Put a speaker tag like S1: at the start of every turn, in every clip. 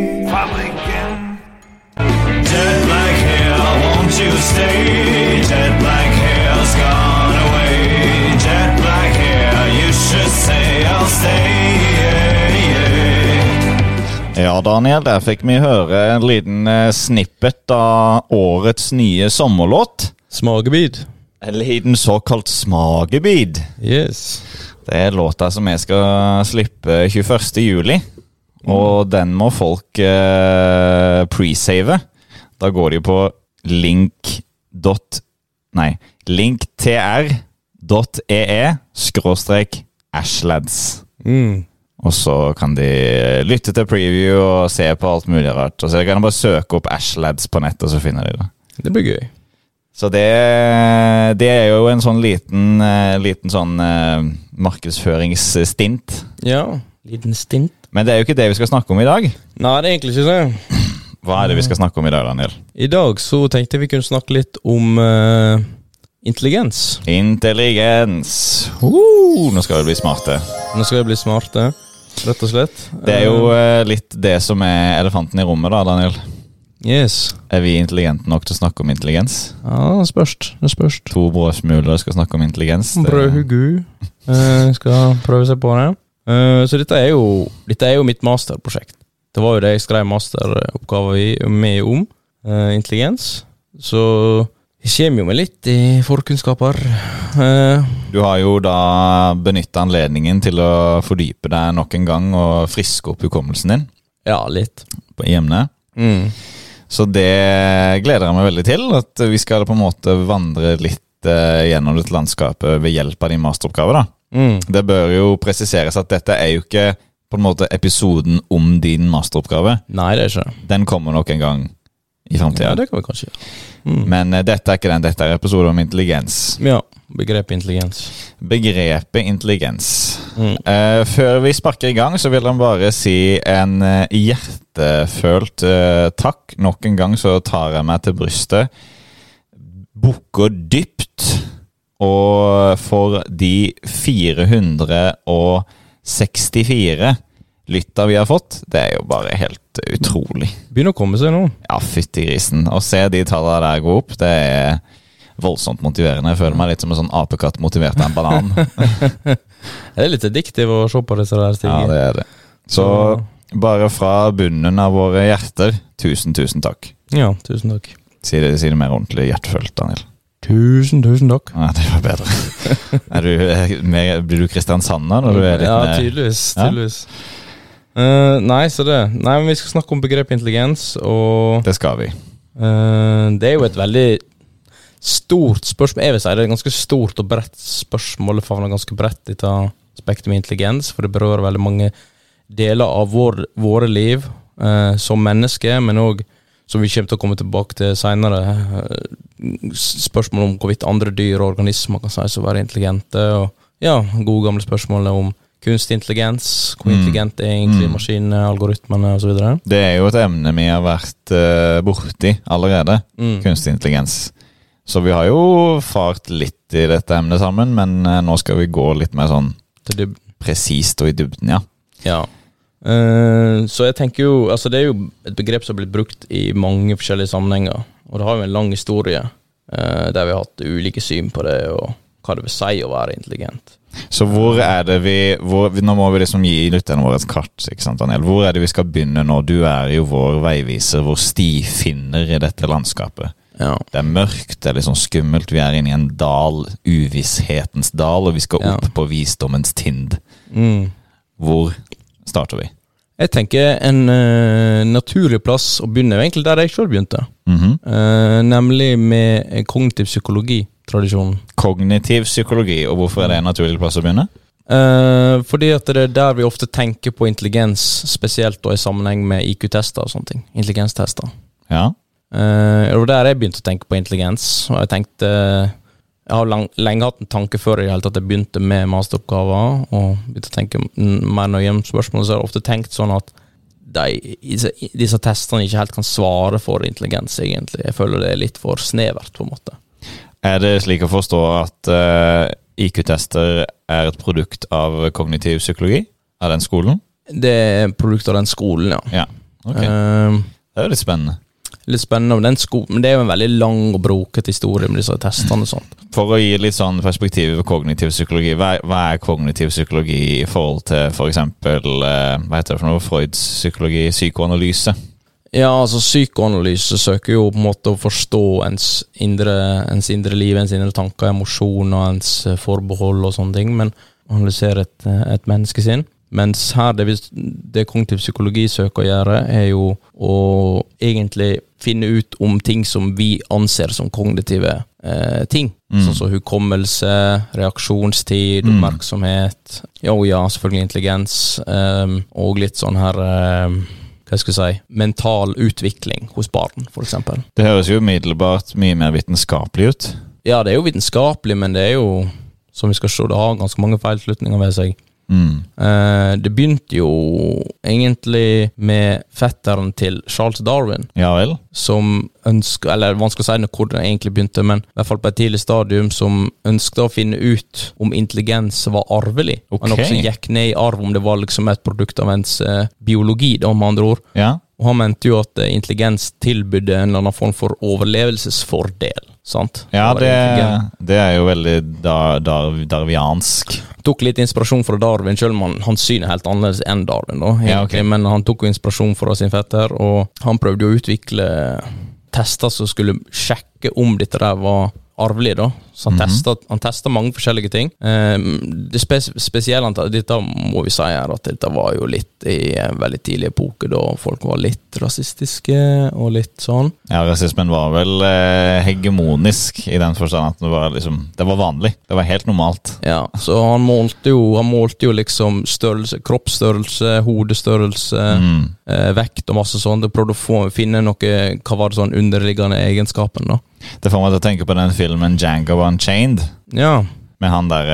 S1: Filosofifabrikken. Jet black hair, won't you stay? Jet black hair's gone away. Jet black hair, you should say I'll stay. Yeah, yeah.
S2: Ja, Daniel, der fikk vi høre en liten eh, snippet av årets nye sommerlåt.
S3: Smakebit.
S2: En liten såkalt smakebit.
S3: Yes.
S2: Det er låta som jeg skal slippe 21. juli. Og den må folk eh, presave. Da går de på link... Dot, nei, linktr.ee skråstrek ashlads.
S3: Mm.
S2: Og så kan de lytte til preview og se på alt mulig rart. Og så kan de bare søke opp Ashlads på nettet, så finner de det.
S3: Det blir gøy.
S2: Så det, det er jo en sånn liten, eh, liten sånn eh, markedsføringsstint.
S3: Ja. Liten stint.
S2: Men det er jo ikke det vi skal snakke om i dag.
S3: Nei, det er egentlig ikke det.
S2: Hva er det vi skal snakke om i dag, Daniel?
S3: I dag så tenkte jeg vi kunne snakke litt om eh, intelligens.
S2: Intelligens. Uh, nå skal vi bli smarte.
S3: Nå skal jeg bli smarte, rett og slett.
S2: Det er jo eh, litt det som er elefanten i rommet, da, Daniel.
S3: Eh, Yes.
S2: Er vi intelligente nok til å snakke om intelligens?
S3: Ja, det spørs. Det spørs.
S2: To brødsmuler skal snakke om intelligens. Det-
S3: Brødhugu eh, skal prøve seg på det. Eh, så dette er, jo, dette er jo mitt masterprosjekt. Det var jo det jeg skrev masteroppgave i- med om. eh, intelligens. Så jeg kommer jo med litt i forkunnskaper. Eh,
S2: Du har jo da benytta anledningen til å fordype deg nok en gang og friske opp hukommelsen din
S3: ja, litt.
S2: på emnet.
S3: Mm.
S2: Så det gleder jeg meg veldig til. At vi skal på en måte vandre litt eh, gjennom dette landskapet ved hjelp av din masteroppgave. da.
S3: Mm.
S2: Det bør jo presiseres at dette er jo ikke på en måte episoden om din masteroppgave.
S3: Nei, det er ikke det.
S2: Den kommer nok en gang i
S3: Ja,
S2: framtida.
S3: det kan vi kanskje gjøre. Mm.
S2: Men eh, dette er ikke den. Dette er episode om intelligens.
S3: Ja, begrepet intelligens.
S2: Begrepet intelligens.
S3: Mm.
S2: Eh, før vi sparker i gang, så vil han bare si en eh, hjertefølt eh, takk. Nok en gang så tar jeg meg til brystet, bukker dypt, og for de 464 lytta vi har fått, det er jo bare helt utrolig.
S3: Begynner å komme seg nå.
S2: Ja, fytti grisen. Å se de tallene der gå opp, det er voldsomt motiverende. Jeg føler meg litt som en sånn apekatt motivert av en banan.
S3: Det er litt addiktivt å se på disse der
S2: Ja,
S3: tingene.
S2: det er det. Så bare fra bunnen av våre hjerter, tusen, tusen takk.
S3: Ja, tusen takk.
S2: Si det, si det mer ordentlig hjertefølt, Daniel.
S3: Tusen, tusen takk.
S2: Ja, det var bedre. er du, er- mer, blir du Kristiansander når du er litt
S3: Ja,
S2: mer-
S3: tydeligvis.
S2: Ja.
S3: tydeligvis. Eh, nei, så det. Nei, men Vi skal snakke om begrepet intelligens, og
S2: Det skal vi.
S3: eh, det er jo et veldig stort spørsmål. Jeg vil si det er et ganske stort og bredt spørsmål. Det favner ganske bredt, dette aspektet med intelligens, for det berører veldig mange deler av vår, våre liv eh, som mennesker, men òg som vi kommer til å komme tilbake til seinere, spørsmål om hvorvidt andre dyr og organismer kan sies å være intelligente, og ja, gode gamle spørsmål om kunstig intelligens, hvor
S2: Mm.
S3: intelligent er egentlig
S2: Mm.
S3: maskinene, algoritmene osv.
S2: Det er jo et emne vi har vært eh, borti allerede,
S3: Mm.
S2: kunstig intelligens. Så vi har jo fart litt i dette emnet sammen, men eh, nå skal vi gå litt mer sånn
S3: Til det-
S2: presist og i dybden, ja.
S3: Ja. Eh, så jeg tenker jo Altså, det er jo et begrep som har blitt brukt i mange forskjellige sammenhenger, og det har jo en lang historie eh, der vi har hatt ulike syn på det, og hva det vil si å være intelligent.
S2: Så hvor er det vi hvor, vi- Nå må vi liksom gi lytterne våre et kart. ikke sant, Daniel? Hvor er det vi skal begynne nå? Du er jo vår veiviser, vår stifinner i dette landskapet.
S3: Ja.
S2: Det er mørkt, det er litt sånn skummelt. Vi er inne i en dal, uvisshetens dal, og vi skal
S3: Ja.
S2: opp på visdommens tind.
S3: Mm.
S2: Hvor starter vi?
S3: Jeg tenker en eh, naturlig plass å begynne er egentlig der jeg sjøl begynte.
S2: Mhm.
S3: Eh, nemlig med eh, kognitiv psykologi-tradisjonen.
S2: Kognitiv psykologi, og hvorfor er det en naturlig plass å begynne?
S3: Eh, fordi at det er der vi ofte tenker på intelligens, spesielt da i sammenheng med IQ-tester og sånne ting. Intelligenstester.
S2: Ja,
S3: Eh, og der jeg begynte å tenke på intelligens. Og jeg tenkte eh, Jeg har lang, lenge hatt en tanke før i det hele tatt jeg begynte med masteroppgaver. Og begynte å tenke mm, mer nøye om spørsmål. Så jeg har ofte tenkt sånn at de, disse, disse testene ikke helt kan svare for intelligens, egentlig. Jeg føler det er litt for snevert, på en måte.
S2: Er det slik å forstå at eh, IQ-tester er et produkt av kognitiv psykologi? Av den skolen?
S3: Det er et produkt av den skolen, ja.
S2: Ja. Ok.
S3: Ehm,
S2: Det er jo litt spennende.
S3: litt spennende om den skolen, men det er jo en veldig lang og brokete historie med disse testene og sånt.
S2: For å gi litt sånn perspektiv på kognitiv psykologi, hva er, hva er kognitiv psykologi i forhold til for eksempel eh, hva heter det for noe, Freuds psykologi, psykoanalyse?
S3: Ja, altså Psykoanalyse søker jo på en måte å forstå ens indre, ens indre liv, ens indre tanker, emosjoner, ens eh, forbehold og sånne ting, men analysere et, eh, et menneskesinn. Mens her, det, vis- det kognitiv psykologi søker å gjøre, er jo å egentlig finne ut om ting som vi anser som kognitive eh, ting. Sånn som hukommelse, reaksjonstid, oppmerksomhet, ja og ja, selvfølgelig intelligens, ehm, og litt sånn her ehm, hva skal jeg si, mental utvikling hos barn, for eksempel.
S2: Det høres jo umiddelbart mye mer vitenskapelig ut.
S3: Ja, det er jo vitenskapelig, men det er jo, som vi skal se, det har ganske mange feilslutninger ved seg.
S2: Mm.
S3: Eh, det begynte jo egentlig med fetteren til Charles Darwin,
S2: Ja vel?
S3: som ønska Eller vanskelig å si noe hvor det egentlig begynte, men i hvert fall på et tidlig stadium som ønska å finne ut om intelligens var arvelig.
S2: Ok.
S3: Og noe som gikk ned i arv, om det var liksom et produkt av ens eh, biologi, da, med andre ord.
S2: Ja.
S3: Og han mente jo at eh, intelligens tilbydde en eller annen form for overlevelsesfordel. Sant?
S2: Ja,
S3: var
S2: det,
S3: intelligens.
S2: det er jo veldig dar, dar, darwiansk.
S3: tok litt inspirasjon fra Darwin, selv om han, hans syn er helt annerledes enn Darwin. da,
S2: Ja,
S3: egentlig.
S2: ok.
S3: Men han tok jo inspirasjon fra sin fetter, og han prøvde jo å utvikle tester som skulle sjekke om dette der var arvelig. da. Så han,
S2: Mhm.
S3: testa, han testa mange forskjellige ting. Ehm, det spes spesielle, han ta- dette må vi si her, at dette var jo litt i en veldig tidlig epoke, da folk var litt rasistiske og litt sånn.
S2: Ja, Rasismen var vel eh, hegemonisk i den forstand at det var, liksom, det var vanlig. Det var helt normalt.
S3: Ja, så han målte jo, han målte jo liksom størrelse, kroppsstørrelse, hodestørrelse,
S2: Mm.
S3: eh, vekt og masse sånt. Og prøvde å få, finne noe, hva var det sånn underliggende egenskapen, da.
S2: Det får meg til å tenke på den filmen Django Unchained,
S3: Ja,
S2: med han der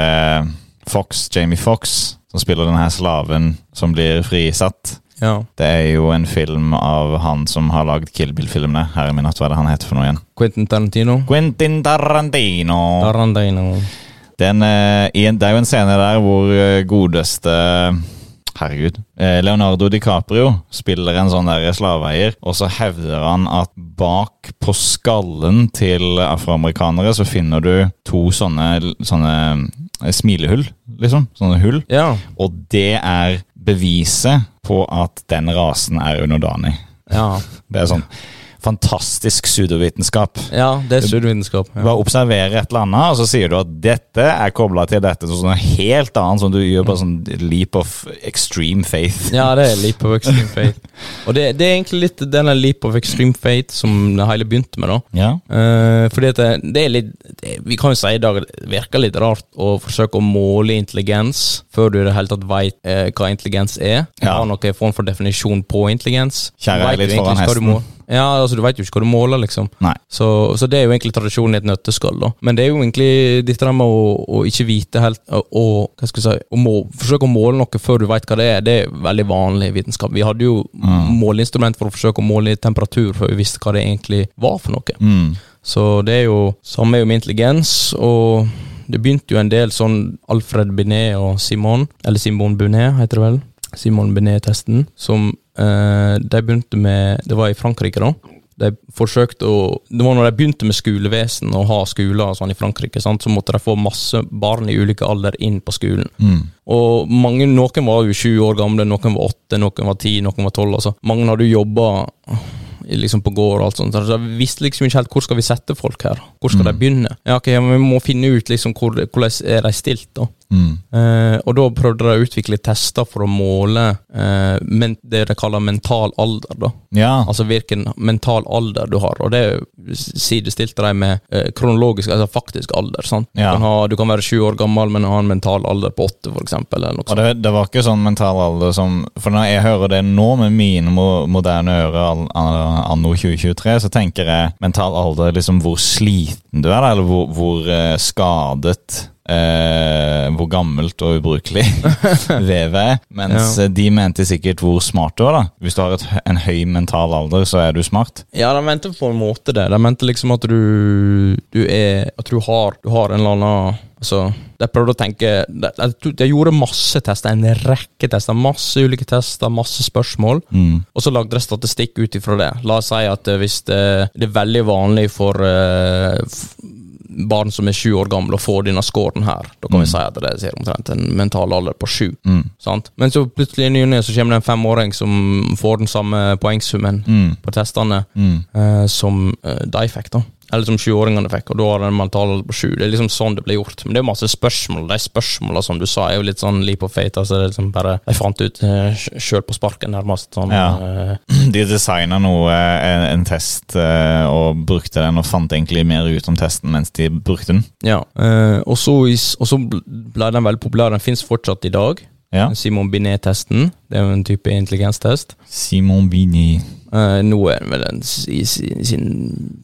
S2: eh, Fox, Jamie Fox, som spiller denne slaven som blir frisatt.
S3: ja.
S2: Det er jo en film av han som har lagd Kill Bill-filmene. Herre min hatt, hva er det han heter for noe igjen?
S3: Quentin Tarantino.
S2: Quentin Tarantino.
S3: Tarantino.
S2: Den, eh, i en, det er jo en scene der hvor eh, godeste Herregud. eh, Leonardo DiCaprio spiller en sånn der slaveeier, og så hevder han at bak på skallen til afroamerikanere så finner du to sånne, sånne eh, smilehull, liksom. Sånne hull.
S3: Ja.
S2: Og det er beviset på at den rasen er underdanig.
S3: Ja,
S2: Det er sånn fantastisk pseudovitenskap.
S3: ja det er studievitenskap. Ja.
S2: Bare observerer et eller annet, og så sier du at dette er kobla til dette. Så sånn helt annet som du gjør på sånn leap of extreme faith.
S3: Ja, det er Leap of Extreme Fate. Og det, det er egentlig litt denne Leap of Extreme Fate som det hele begynte med, da.
S2: Ja.
S3: Eh, fordi at det, det er litt det, Vi kan jo si i dag at det virker litt rart å forsøke å måle intelligens før du i det hele tatt veit eh, hva intelligens er.
S2: Ja.
S3: Har noen form for definisjon på intelligens.
S2: Kjære
S3: Vet
S2: er litt
S3: du egentlig
S2: foran
S3: ikke hva du
S2: hesten.
S3: må- Ja, altså Du veit jo ikke hva du måler, liksom.
S2: Nei.
S3: Så, så det er jo egentlig tradisjonen i et nøtteskall. da. Men det er jo egentlig dette der med å, å ikke vite helt og, og hva skal jeg si, å må, forsøke å måle noe før du veit hva det er, det er veldig vanlig i vitenskap. Vi hadde jo
S2: Mm.
S3: måleinstrument for å forsøke å måle temperatur før vi visste hva det egentlig var for noe.
S2: Mm.
S3: Så det er jo samme er jo med intelligens, og det begynte jo en del sånn Alfred Binet og Simon, eller Simon Bunet heter det vel. Simon Binet-testen, som eh, de begynte med Det var i Frankrike, da. De forsøkte å Det var når de begynte med skolevesen og ha skoler og sånn i Frankrike, sant? så måtte de få masse barn i ulike alder inn på skolen.
S2: Mm.
S3: Og mange, noen var jo 20 år gamle, noen var 8, noen var 10, noen var 12. Altså. Mange hadde jo jobba liksom på gård og alt sånt. Så de visste liksom ikke helt hvor skal vi sette folk her. Hvor skal de begynne? Ja, ok, men Vi må finne ut liksom hvor, hvordan er de stilt, da.
S2: Mm.
S3: Eh, og da prøvde de å utvikle tester for å måle eh, men, det de kaller mental alder. da.
S2: Ja.
S3: Altså hvilken mental alder du har, og det sidestilte de med eh, kronologisk, altså faktisk alder. sant?
S2: Ja.
S3: Du, kan ha, du kan være 20 år gammel, men ha en mental alder på 8, for eksempel. Eller noe
S2: Og
S3: sånt.
S2: det, det var ikke sånn mental alder som For når jeg hører det nå med mine mo moderne ører al- an- anno 2023, så tenker jeg mental alder er liksom hvor sliten du er, da, eller hvor, hvor eh, skadet eh, hvor gammelt og ubrukelig vevet er. Mens eh, de mente sikkert hvor smart du var. da. Hvis du har et, hø- en høy mental alder, så er du smart.
S3: Ja, de mente på en måte det. De mente liksom at du, du er At du har, du har en eller annen Altså, de prøvde å tenke De, de, de gjorde masse tester, en rekke tester. Masse ulike tester, masse spørsmål. Og så lagde de statistikk ut ifra det. La oss si at eh, hvis det, det er veldig vanlig for eh, f- barn som er sju år gamle, å få denne scoren her, da kan vi si at det er omtrent en mental alder på sju. Sant? Men så plutselig i ny og ne så kommer det en femåring som får den samme poengsummen
S2: Mm.
S3: på testene eh, som eh, de fikk, da. Eller som sjuåringene fikk, og da har den mental alder på sju. Det er liksom sånn det blir gjort. Men det er masse spørsmål. De spørsmåla som du sa, er jo litt sånn leap of fate. Altså, det er liksom bare De fant ut eh, sjøl på sparket, nærmest. Sånn,
S2: Ja.
S3: eh,
S2: De designa noe, en, en test, eh, og brukte den, og fant egentlig mer ut om testen mens de brukte den.
S3: Ja, eh, og så i s- og så bl- ble den veldig populær. Den fins fortsatt i dag.
S2: Ja.
S3: Den Simon Binet-testen. Det er jo en type intelligenstest.
S2: Simon Bini.
S3: Eh, nå er den vel en, s- i sin, sin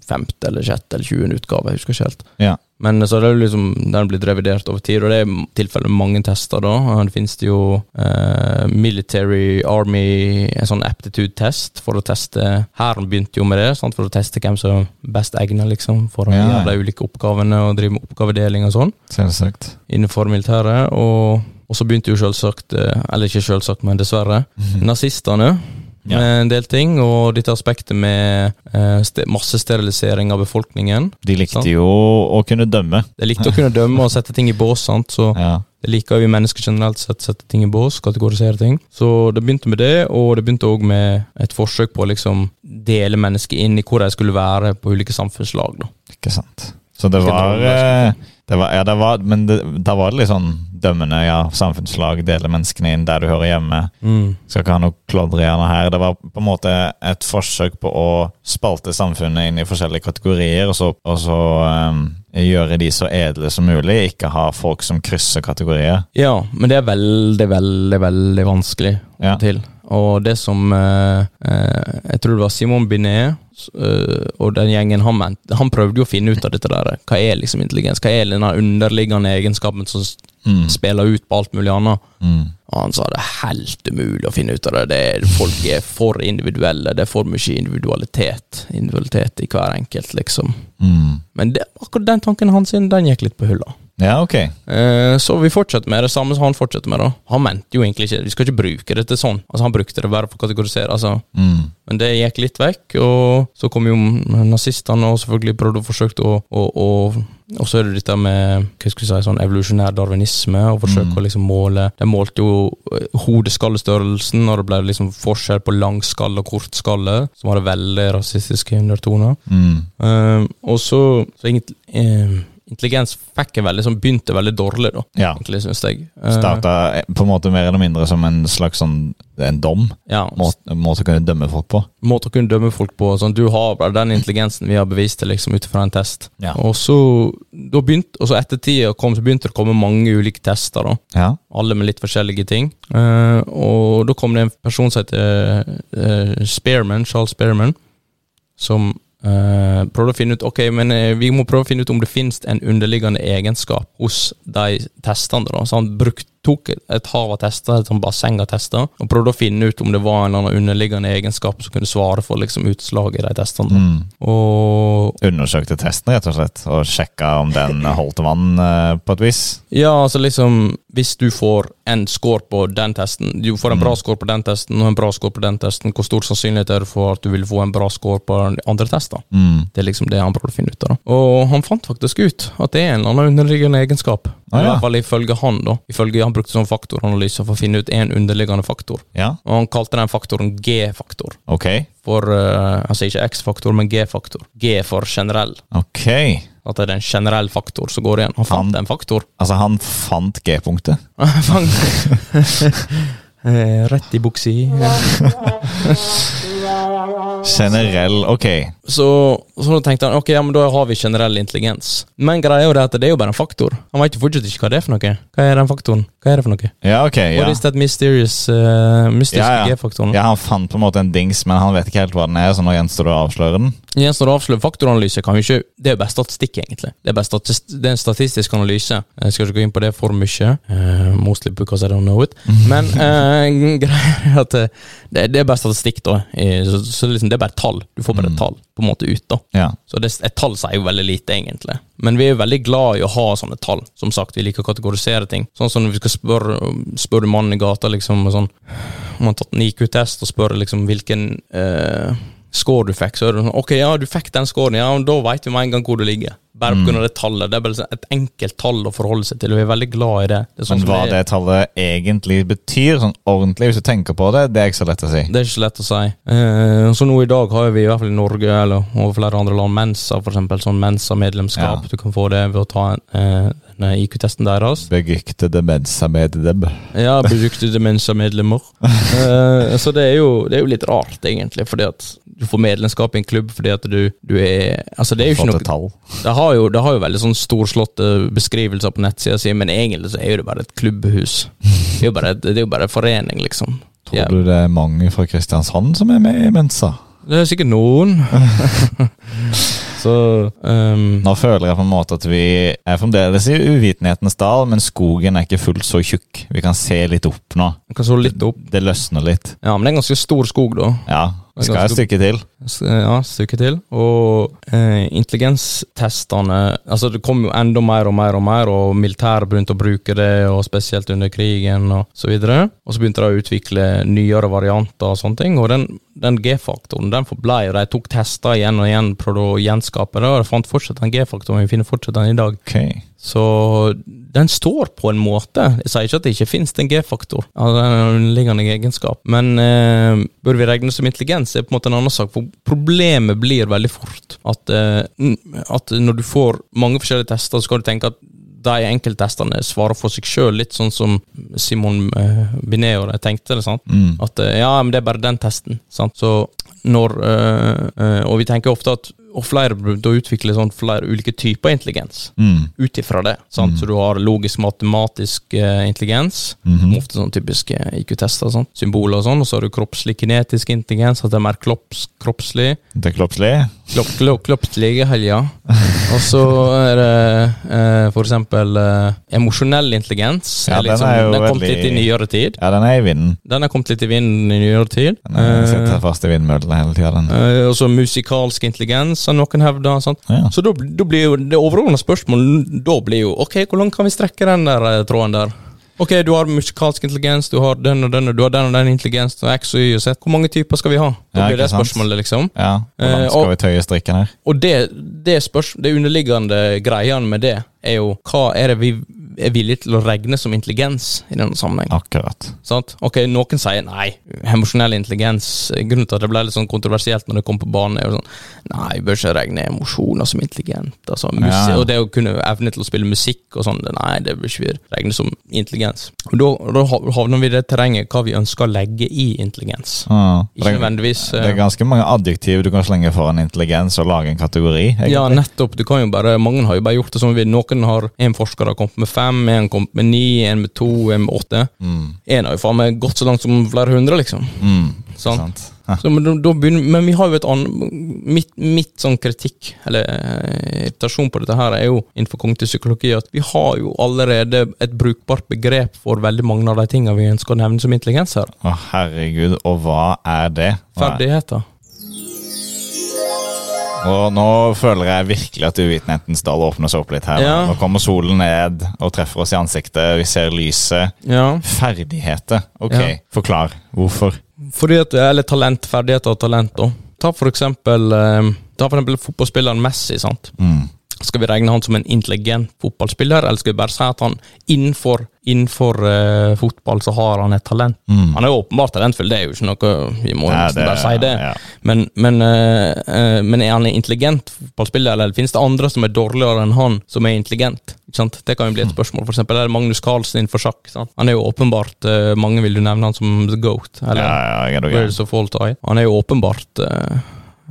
S3: femte eller sjette eller tjuende utgave. Jeg husker ikke helt.
S2: Ja.
S3: Men så er det jo liksom, den blitt revidert over tid, og det er i tilfelle mange tester. da. Det finnes det jo eh, Military Army, en sånn aptitude-test for å teste Hæren begynte jo med det, sant? for å teste hvem som er best egnet liksom, for å
S2: Ja.
S3: gjøre de ulike oppgavene og drive med oppgavedeling og sånn
S2: Selvsagt.
S3: innenfor militæret. Og, og så begynte jo selvsagt, eh, eller ikke selvsagt, men dessverre,
S2: Mm-hmm.
S3: nazistene
S2: Ja.
S3: med en del ting. Og dette aspektet med eh, ste massesterilisering av befolkningen.
S2: De likte
S3: Sant.
S2: jo å kunne dømme.
S3: Det likte å kunne dømme og sette ting i bås, sant? så
S2: Ja.
S3: det liker vi mennesker generelt sett, sette ting i bås, kategorisere ting. Så det begynte med det, og det begynte òg med et forsøk på å liksom dele mennesker inn i hvor de skulle være på ulike samfunnslag. da.
S2: Ikke sant. Så det
S3: Ikke
S2: var,
S3: dømme,
S2: eh, det var Ja, det var Men det, da var det litt sånn dømmende, ja, samfunnslag, dele menneskene inn der du hører hjemme. Skal ikke ha noe klodrejerne her. Det var på en måte et forsøk på å spalte samfunnet inn i forskjellige kategorier, og så, og så eh, gjøre de så edle som mulig, ikke ha folk som krysser kategorier.
S3: Ja, men det er veldig, veldig, veldig vanskelig å
S2: Ja.
S3: få til. Og det som eh, eh, Jeg tror det var Simon Binet s- eh, og den gjengen han mente Han prøvde jo å finne ut av dette der. Hva er liksom intelligens? Hva er denne underliggende egenskapen som s-
S2: Mm.
S3: spiller ut på alt mulig annet?
S2: Mm.
S3: Og han sa det er helt umulig å finne ut av det. det er, folk er for individuelle. Det er for mye individualitet Individualitet i hver enkelt, liksom.
S2: Mm.
S3: Men det, akkurat den tanken hans sin, den gikk litt på hulla.
S2: Ja, ok.
S3: Eh, Så vi fortsetter med det samme som han fortsetter med. da Han mente jo egentlig ikke Vi skal ikke bruke det til sånn. Altså Han brukte det bare for å kategorisere. Altså.
S2: Mm.
S3: Men det gikk litt vekk, og så kom jo nazistene og selvfølgelig prøvde og forsøkte å å- å- Og så er det dette med hva skal vi si, sånn evolusjonær darwinisme, og forsøke å liksom måle De målte jo eh, hodeskallestørrelsen, og det ble liksom forskjell på lang skalle og kort skalle, som hadde veldig rasistiske undertoner.
S2: Mm.
S3: Eh, og så, så egentlig, eh, Intelligens fikk jeg veldig, som begynte veldig dårlig, da.
S2: Ja.
S3: Egentlig, synes jeg. Eh,
S2: Starta eh, på en måte mer eller mindre som en slags sånn en dom.
S3: ja,
S2: Måte, måte å kunne dømme folk på.
S3: måte å kunne dømme folk på. Sånn, du har bare den intelligensen vi har bevist det liksom, ut fra en test.
S2: Ja.
S3: Og så da begynte, og så etter tida kom, så begynte det å komme mange ulike tester. da.
S2: Ja.
S3: Alle med litt forskjellige ting. Eh, og da kom det en person som heter eh, Spearman, Charles Spearman, som eh, prøvde å finne ut Ok, men eh, vi må prøve å finne ut om det finnes en underliggende egenskap hos de testene. da. Så han bruk, tok et hav av tester, et sånt basseng av tester, og prøvde å finne ut om det var en eller annen underliggende egenskap som kunne svare for liksom, utslaget i de testene. da.
S2: Mm.
S3: Og
S2: Undersøkte testen, rett og slett, og sjekka om den holdt vann eh, på et vis.
S3: Ja, altså liksom Hvis du får en score på den testen Du får en
S2: Mm.
S3: bra score på den testen og en bra score på den testen, hvor stor sannsynlighet er det for at du vil få en bra score på den andre testen?
S2: Mm.
S3: Det er liksom det han prøvde å finne ut av. da. Og han fant faktisk ut at det er en eller annen underliggende egenskap.
S2: Ah,
S3: I
S2: ja.
S3: hvert fall ifølge han, da. Ifølge Han brukte sånn faktoranalyse for å finne ut en underliggende faktor.
S2: Ja,
S3: Og han kalte den faktoren G-faktor.
S2: ok.
S3: For eh, Altså ikke X-faktor, men G-faktor. G for generell.
S2: Ok.
S3: At det er en generell faktor som går igjen. Han
S2: Han-
S3: fant en faktor.
S2: Altså, han fant G-punktet.
S3: Fang Eh, Rett i buksa.
S2: Generell, ok.
S3: Så, så da tenkte han ok, ja, men da har vi generell intelligens. Men greia er jo det at det er jo bare en faktor. Han vet jo fortsatt ikke hva det er for noe. Hva er den faktoren? Hva er det for noe?
S2: Ja, ok.
S3: What
S2: Ja.
S3: is that mysterious eh, mystiske
S2: Ja, ja.
S3: G-faktoren?
S2: ja, han fant på en måte en dings, men han vet ikke helt hva den er, så nå gjenstår det å avsløre den.
S3: Igjen står det å avsløre sånn faktoranalyse. Kan jo ikke, det er jo bare statistikk, egentlig. Det er, bare statist, det er en statistisk analyse. Jeg skal ikke gå inn på det for mye. eh, mostly because I don't know it. Men uh, greia er at eh, det, det er bare statistikk, da. Eh, Så, så liksom, det er bare tall. Du får bare tall på en måte ut, da.
S2: Ja.
S3: Så det, et tall sier jo veldig lite, egentlig. Men vi er jo veldig glad i å ha sånne tall. Som sagt, vi liker å kategorisere ting. Sånn som når vi skal spørre spør du mannen i gata, liksom, og sånn, om han har tatt en IQ-test, og spør liksom hvilken eh, score du fikk, så er det sånn Ok, ja, du fikk den scoren, ja, men da veit vi med en gang hvor du ligger. Bare på grunn av det tallet. Det er bare sånn et enkelt tall å forholde seg til, og vi er veldig glad i det. det er sånn
S2: Men
S3: som
S2: hva
S3: det,
S2: det tallet egentlig betyr, sånn ordentlig, hvis du tenker på det, det er ikke så lett å si.
S3: er- det er ikke så lett å si. Eh, så nå i dag har vi i hvert fall i Norge eller over flere andre land Mensa, for eksempel. Sånn Mensa-medlemskap.
S2: Ja.
S3: Du kan få det ved å ta eh, denne IQ-testen deres.
S2: Begykte demensamedeb.
S3: Ja, brukte demensa-medlemmer. Eh, så det er, jo, det er jo litt rart, egentlig, fordi at du får medlemskap i en klubb fordi at du, du er Altså, det er jo ikke
S2: Fått
S3: noe
S2: et tall.
S3: Det har jo, det har jo veldig sånn storslåtte beskrivelser på nettsida si, men egentlig så er jo det bare et klubbhus. Det er jo bare, det er jo bare en forening, liksom.
S2: Tror
S3: Ja.
S2: du det er mange fra Kristiansand som er med i Mensa?
S3: Det er sikkert noen. så ehm,
S2: Nå føler jeg på en måte at vi er fremdeles i uvitenhetens dal, men skogen er ikke fullt så tjukk. Vi kan se litt opp nå.
S3: jeg kan så litt opp.
S2: Det løsner litt.
S3: Ja, men det er en ganske stor skog, da.
S2: Ja,
S3: Det er
S2: skal
S3: ganske-
S2: jeg stykke til?
S3: S- eh, Ja, stykke til. Og eh, intelligenstestene Altså, det kom jo enda mer og mer og mer, og militæret begynte å bruke det, og spesielt under krigen og så videre. Og så begynte de å utvikle nyere varianter og sånne ting, og den, den G-faktoren den forblei, og de tok tester igjen og igjen, prøvde å gjenskape det, og de fant fortsatt den G-faktoren, vi finner fortsatt den i dag.
S2: Ok.
S3: Så den står på en måte. Jeg sier ikke at det ikke finnes en G-faktor, altså en underliggende egenskap, men eh, bør vi regne som intelligens, er på en måte en annen sak. For problemet blir veldig fort at, eh, n- at når du får mange forskjellige tester, så skal du tenke at de enkelttestene svarer for seg sjøl, litt sånn som Simon eh, Binet og de tenkte. det, sant?
S2: Mm.
S3: At eh, ja, men det er bare den testen. Sant? Så når eh, eh, Og vi tenker ofte at og flere da utvikler sånn flere ulike typer intelligens
S2: Mm.
S3: ut ifra det. Sant? Så du har logisk matematisk eh, intelligens,
S2: Mhm.
S3: ofte sånn typiske IQ-tester, og sånn, symboler og sånn, og så har du kroppslig kinetisk intelligens, at det er mer kropps, kroppslig.
S2: Det er kroppslig.
S3: Klopp, klopp, kloppslige helger. Og så er det eh, for eksempel eh, emosjonell intelligens.
S2: Ja,
S3: er
S2: den
S3: liksom,
S2: er jo
S3: den har kommet
S2: veldig-
S3: litt i nyere tid.
S2: Ja, den er i vinden.
S3: Den har kommet litt i vinden i nyere tid.
S2: Den er- sitter
S3: Eh,
S2: fast i vindmøllene hele tida, den.
S3: eh, og så musikalsk intelligens, har noen hevda. Sant?
S2: Ja.
S3: Så da, da blir jo det overordna spørsmålet da blir jo OK, hvor langt kan vi strekke den der eh, tråden der? OK, du har musikalsk intelligens, du har den og den, og du har den og den intelligens, og X og Y og Z. Hvor mange typer skal vi ha? Da
S2: Ja,
S3: blir det
S2: ikke sant.
S3: spørsmålet, liksom.
S2: ja. Hvor
S3: eh,
S2: langt
S3: og-
S2: skal vi tøye strikken her?
S3: Og det, det, spørs, det underliggende greiene med det er jo hva er det vi er villige til å regne som intelligens i denne sammenheng.
S2: Akkurat.
S3: Sant? Ok, Noen sier nei, emosjonell intelligens Grunnen til at det ble litt sånn kontroversielt når det kom på banen, er jo sånn Nei, vi bør ikke regne emosjoner som intelligent. Altså, musi-
S2: Ja.
S3: Og det å kunne evne til å spille musikk og sånn, det- nei, det bør ikke vi regne som intelligens. Og Da, da havner vi i det terrenget hva vi ønsker å legge i intelligens.
S2: Ah.
S3: Ikke
S2: det,
S3: nødvendigvis
S2: det er
S3: eh,
S2: ganske mange adjektiv du kan slenge foran intelligens og lage en kategori. egentlig.
S3: eh, Ja, nettopp. Du kan jo bare, Mange har jo bare gjort det som vi vil. Noen har en forsker har kommet med fem, en har kommet med ni, en med to, en med åtte.
S2: Mm.
S3: En har jo faen meg gått så langt som flere hundre, liksom.
S2: Mm.
S3: Sant?
S2: Sant. Ja.
S3: Så, men, da, da begynner, men vi har jo et annet Mitt, mitt sånn kritikk, eller eh, irritasjon på dette her, er jo innenfor kognitiv psykologi at vi har jo allerede et brukbart begrep for veldig mange av de tingene vi ønsker å nevne som intelligens her.
S2: Å, herregud, og hva er det? Hva er-
S3: Ferdigheter.
S2: Og nå føler jeg virkelig at uvitenhetens dal åpner seg opp litt her.
S3: Ja.
S2: Nå kommer solen ned og treffer oss i ansiktet, vi ser lyset.
S3: Ja.
S2: Ferdigheter. Ok,
S3: Ja.
S2: forklar. Hvorfor?
S3: Fordi at, eller talent, ferdigheter og talent, da. Ta for eksempel, eh, ta for eksempel fotballspilleren Messi, sant.
S2: Mm.
S3: Skal vi regne han som en intelligent fotballspiller, eller skal vi bare si at han innenfor, innenfor eh, fotball så har han et talent? Han er jo åpenbart talentfull, det er jo ikke noe Vi må jo
S2: Nei,
S3: nesten
S2: det-
S3: bare si det.
S2: Mm. ja.
S3: Men, men, eh, eh, men er han en intelligent fotballspiller, eller finnes det andre som er dårligere enn han, som er intelligent? Ikke sant? Det kan jo
S2: Mm.
S3: bli et spørsmål. For eksempel er det Magnus Carlsen innenfor sjakk. Sant? Han er jo åpenbart eh, Mange vil jo nevne han som the goat, eller
S2: Ja, ja, jeg er da gæren.
S3: Birds of All Time. Han er jo åpenbart eh,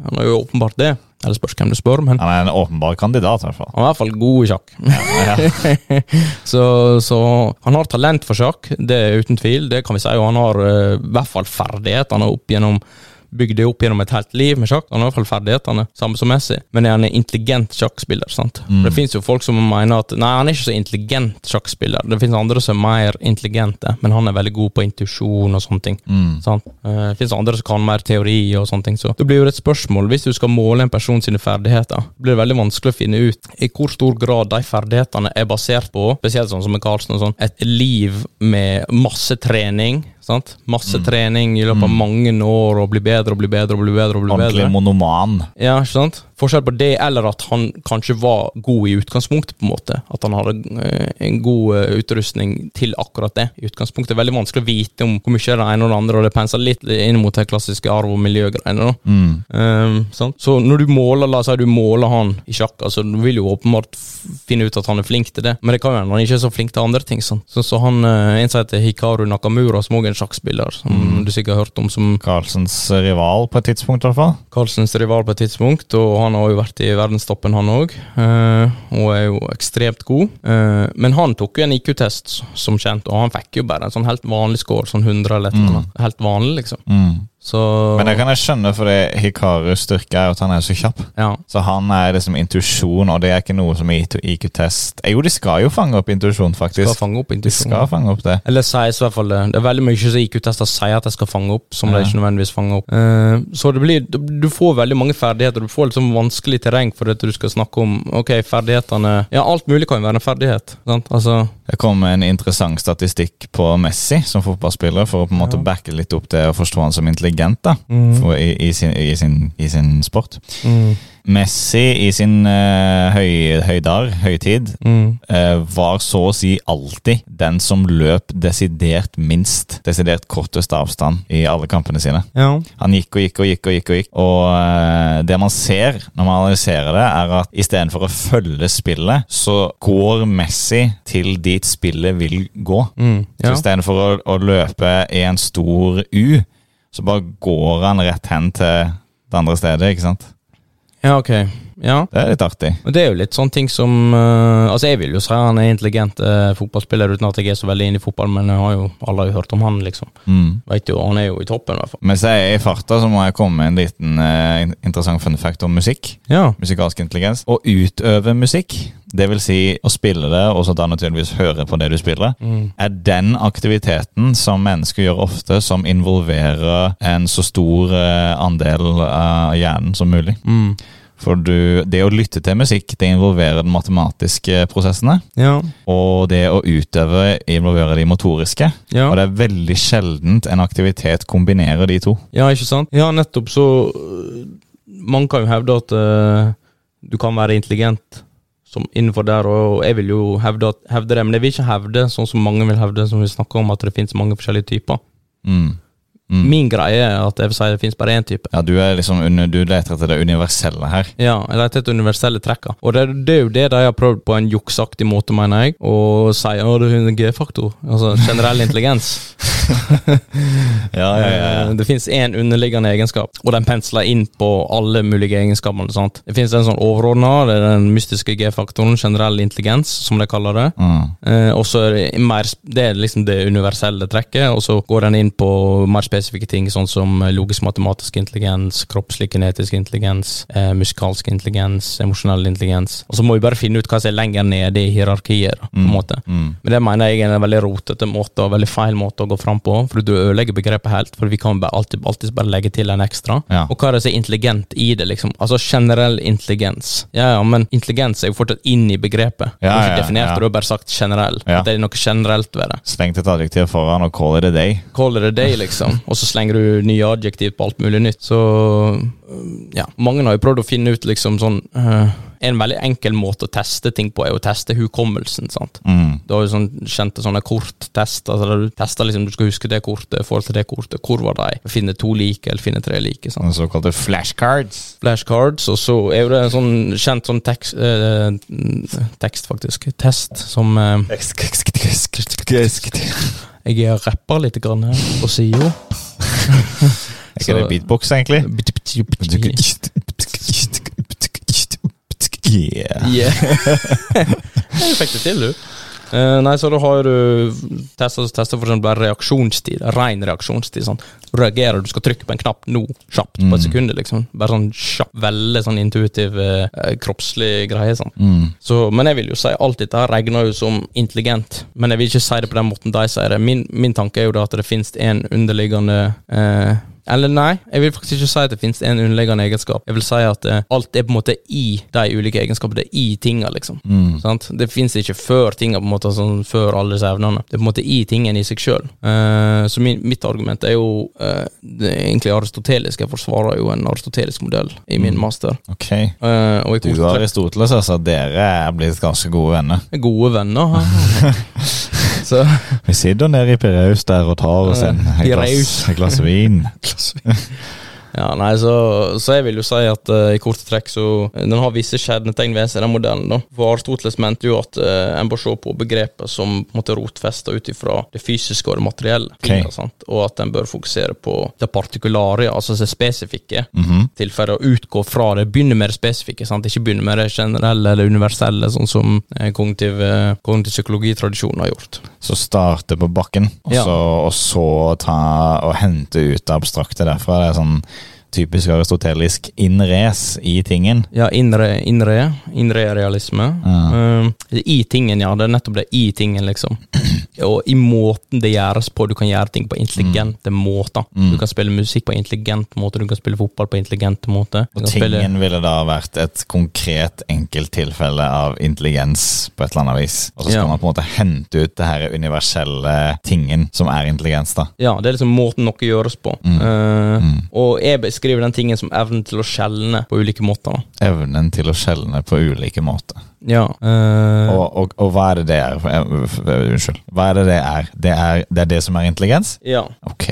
S3: Han er jo åpenbart det. Eller spørs hvem du spør, men
S2: Han er en åpenbar kandidat, i hvert fall.
S3: han er i hvert fall god i sjakk. så, så han har talent for sjakk, det er uten tvil. Det kan vi si. Og han har eh, i hvert fall ferdigheter. Han har opp gjennom bygd det opp gjennom et helt liv med sjakk. Han har i hvert fall ferdighetene, samme som Messi. Men er han en intelligent sjakkspiller? sant? For Det fins jo folk som mener at nei, han er ikke så intelligent sjakkspiller. Det fins andre som er mer intelligente, men han er veldig god på intuisjon og sånne ting. sant? Eh, Det fins andre som kan mer teori og sånne ting. Så det blir jo et spørsmål hvis du skal måle en person sine ferdigheter. blir det veldig vanskelig å finne ut i hvor stor grad de ferdighetene er basert på, spesielt sånn som med Karlsen og sånn, et liv med masse trening. Sant? Masse trening i løpet av mange år og bli bedre og bli bedre og bli bedre. og bli
S2: Ordentlig
S3: bedre.
S2: monoman.
S3: Ja, ikke sant? Forskjell på det, eller at han kanskje var god i utgangspunktet, på en måte. At han hadde eh, en god eh, utrustning til akkurat det. I utgangspunktet er det veldig vanskelig å vite om hvor mye er det ene og det andre, og det penser litt inn mot de klassiske arv- og miljøgreiene. da.
S2: Mm.
S3: Ehm, sant? Så når du måler la oss si du måler han i sjakk, altså du vil jo åpenbart f- finne ut at han er flink til det, men det kan jo hende han ikke er så flink til andre ting. Sånn så, så han, eh, En som heter Hikaru Nakamura, som òg er en sjakkspiller, som du sikkert har hørt om, som
S2: Carlsens rival på et tidspunkt, i hvert fall.
S3: Carlsens rival på et tidspunkt, og han har jo vært i verdenstoppen, han òg. Og er jo ekstremt god. Eh, Men han tok jo en IQ-test, som kjent, og han fikk jo bare en sånn helt vanlig score, sånn 100 eller et eller annet. Helt vanlig, liksom. Så
S2: Mm. Men det kan jeg skjønne, fordi Hikarus styrke er jo at han er så kjapp.
S3: ja.
S2: Så han er liksom intuisjon, og det er ikke noe som i IQ-test Eh, Jo, de skal jo fange opp intuisjon,
S3: Skal
S2: faktisk.
S3: fange opp
S2: De skal
S3: intuisjonen.
S2: fange opp det.
S3: Eller sies i hvert fall det. Det er veldig mye som IQ-tester sier at jeg skal fange opp, som de
S2: Ja.
S3: ikke nødvendigvis fanger opp. Eh, så det blir, du du får veldig mange ferdigheter. Du får litt sånn vanskelig terreng for at du skal snakke om Ok, ferdighetene Ja, alt mulig kan jo være en ferdighet. Sant? Altså
S2: Det kom en interessant statistikk på Messi som fotballspiller, for å på en måte backe litt opp det og forstå han som intelligent da,
S3: Mm.
S2: for, i, i, sin, i, sin, i sin sport. mm, Messi i sin eh, høy, høydar, høytid, eh, var så å si alltid den som løp desidert minst, desidert kortest avstand i alle kampene sine.
S3: Ja.
S2: Han gikk og gikk og gikk og gikk. Og gikk. Og eh, det man ser når man analyserer det, er at istedenfor å følge spillet, så går Messi til dit spillet vil gå.
S3: Mm,
S2: Så
S3: ja.
S2: istedenfor å, å løpe i en stor U, så bare går han rett hen til det andre stedet, ikke sant?
S3: ja, ok. Ja.
S2: Det er litt artig.
S3: Og det er jo litt sånne ting som eh, Altså, jeg vil jo si han er intelligent eh, fotballspiller, uten at jeg er så veldig inne i fotball, men jeg har jo, alle har jo hørt om han, liksom.
S2: Mm.
S3: Vet jo, han er jo i toppen, i hvert fall.
S2: Mens jeg er i farta, så må jeg komme med en liten eh, in- interessant fun fact om musikk.
S3: Ja.
S2: musikalsk intelligens. Å utøve musikk, det vil si å spille det, og så da naturligvis høre på det du spiller,
S3: Mm.
S2: er den aktiviteten som mennesker gjør ofte, som involverer en så stor eh, andel av hjernen som mulig.
S3: Mm.
S2: For du, det å lytte til musikk, det involverer de matematiske prosessene.
S3: Ja.
S2: Og det å utøve involverer de motoriske.
S3: Ja.
S2: Og det er veldig sjeldent en aktivitet kombinerer de to.
S3: ja, ikke sant? Ja, nettopp, så øh, Man kan jo hevde at øh, du kan være intelligent som innenfor der, og jeg vil jo hevde, at, hevde det, men jeg vil ikke hevde sånn som mange vil hevde, som vi snakker om, at det finnes mange forskjellige typer.
S2: Mm. Mm.
S3: Min greie er at jeg vil si det finnes bare én type.
S2: Ja, du, er liksom, under- du leter etter det universelle her.
S3: Ja, eller etter universelle trekker. Og det, det er jo det de har prøvd på en jukseaktig måte, mener jeg, å si å, det er en G-faktor. Altså generell intelligens.
S2: Ja,
S3: Eh, Det finnes én underliggende egenskap, og den pensler inn på alle mulige egenskaper. Sant? Det finnes en sånn overordna, det er den mystiske G-faktoren, generell intelligens, som de kaller det.
S2: Mm.
S3: Eh, og så er det, mer, sp- det er liksom det universelle trekket, og så går den inn på mer spesifikke ting, sånn som logisk matematisk intelligens, kroppslig kinetisk intelligens, eh, musikalsk intelligens, emosjonell intelligens. Og så må vi bare finne ut hva som er lenger nede i hierarkiet, da, på en måte.
S2: Mm.
S3: Men det mener jeg er en veldig rotete måte, og veldig feil måte å gå fram på, for du ødelegger begrepet helt, for vi kan bare alltid, alltid bare legge til en ekstra.
S2: Ja.
S3: Og hva er det som er intelligent i det, liksom? Altså generell intelligens. Ja, ja, men intelligens er jo fortsatt inn i begrepet. Du
S2: Ja,
S3: har
S2: ja,
S3: ikke definert
S2: ja.
S3: det, du har bare sagt generell.
S2: Ja.
S3: At det er noe generelt ved det.
S2: Slengt et adjektiv foran og call it a day.
S3: Call it a day, liksom. og så slenger du nye adjektiv på alt mulig nytt. Så øh, ja, mange har jo prøvd å finne ut liksom sånn øh, En veldig enkel måte å teste ting på, er å teste hukommelsen. sant?
S2: Mm.
S3: Du har jo sånn kjente sånne korttester, altså der du tester liksom, du skal huske det kortet, forhold til det kortet, hvor var de? Finne to like, eller finne tre like. sant?
S2: Den såkalte flashcards.
S3: flashcards, og så er det en sånn kjent sånn tekst, eh, tekst faktisk, test, som eh, Jeg er rapper litt grann her, på sida.
S2: Er ikke det beatbox, egentlig? Yeah.
S3: Yeah. Jeg fikk det til, du. Eh, nei, så da har du testa testa for eksempel bare reaksjonstid. Ren reaksjonstid. Sånn. Reagerer du, skal trykke på en knapp nå, kjapt, på et sekund, liksom. Bare sånn kjapp, veldig sånn intuitiv, eh, eh, kroppslig greie, sånn.
S2: Mm,
S3: Så, men jeg vil jo si alt dette her regner jo som intelligent, men jeg vil ikke si det på den måten de sier det. Min, min tanke er jo da at det finnes en underliggende eh, Eller nei, jeg vil faktisk ikke si at det finnes en underliggende egenskap. Jeg vil si at eh, alt er på en måte i de ulike egenskapene. Det er i tinga, liksom.
S2: mm,
S3: Sant? Det finnes ikke før tinga, på en måte, sånn før alle disse evnene. Det er på en måte i tingen i seg sjøl. så min, mitt argument er jo eh, det er egentlig aristotelisk. Jeg forsvarer jo en aristotelisk modell i min master.
S2: Ok.
S3: Eh, og i
S2: Du
S3: korte
S2: og
S3: trekk-
S2: Aristoteles, altså. Dere er blitt ganske gode venner.
S3: gode venner. her. Så
S2: Vi sitter nede i Piraeus der og tar oss en et glass,
S3: Piraeus.
S2: Eh, et glass vin.
S3: Ja, nei, så, så jeg vil jo si at eh, i korte trekk så Den har visse kjennetegn ved seg, den modellen. da. For Aristoteles mente jo at eh, en bør se på begrepet som på en måte rotfesta ut ifra det fysiske og det materielle.
S2: Ok.
S3: sant? Og at en bør fokusere på det partikulare, altså det spesifikke,
S2: Mhm.
S3: tilfellet, og utgå fra det. Begynne med det spesifikke, sant? ikke begynne med det generelle eller universelle, sånn som eh, kognitiv, eh, kognitiv psykologitradisjon har gjort.
S2: Så starte på bakken, og
S3: Ja.
S2: så, og så ta og hente ut det abstrakte derfra. Det er sånn typisk aristotelisk in res i tingen.
S3: Ja, inre, inre, inre realisme. Um, I tingen, ja. Det er nettopp det. I tingen, liksom. Og i måten det gjøres på. Du kan gjøre ting på
S2: Mm.
S3: intelligente måter. Du kan spille musikk på intelligent måte, du kan spille fotball på intelligent måte. Du
S2: Og
S3: kan spille,
S2: tingen ville da vært et konkret enkelttilfelle av intelligens på et eller annet vis. Og så skal
S3: Ja.
S2: man på en måte hente ut det her universelle tingen som er intelligens, da.
S3: ja, det er liksom måten noe gjøres på.
S2: Mm.
S3: Uh, Og jeg beskriver den tingen som evnen til å skjelne på ulike måter. da.
S2: Evnen til å skjelne på ulike måter.
S3: Ja. Uh,
S2: Og, og, og hva er det det er? Eh, Unnskyld. Hva er det det er? Det er det, er det som er intelligens?
S3: ja.
S2: Ok.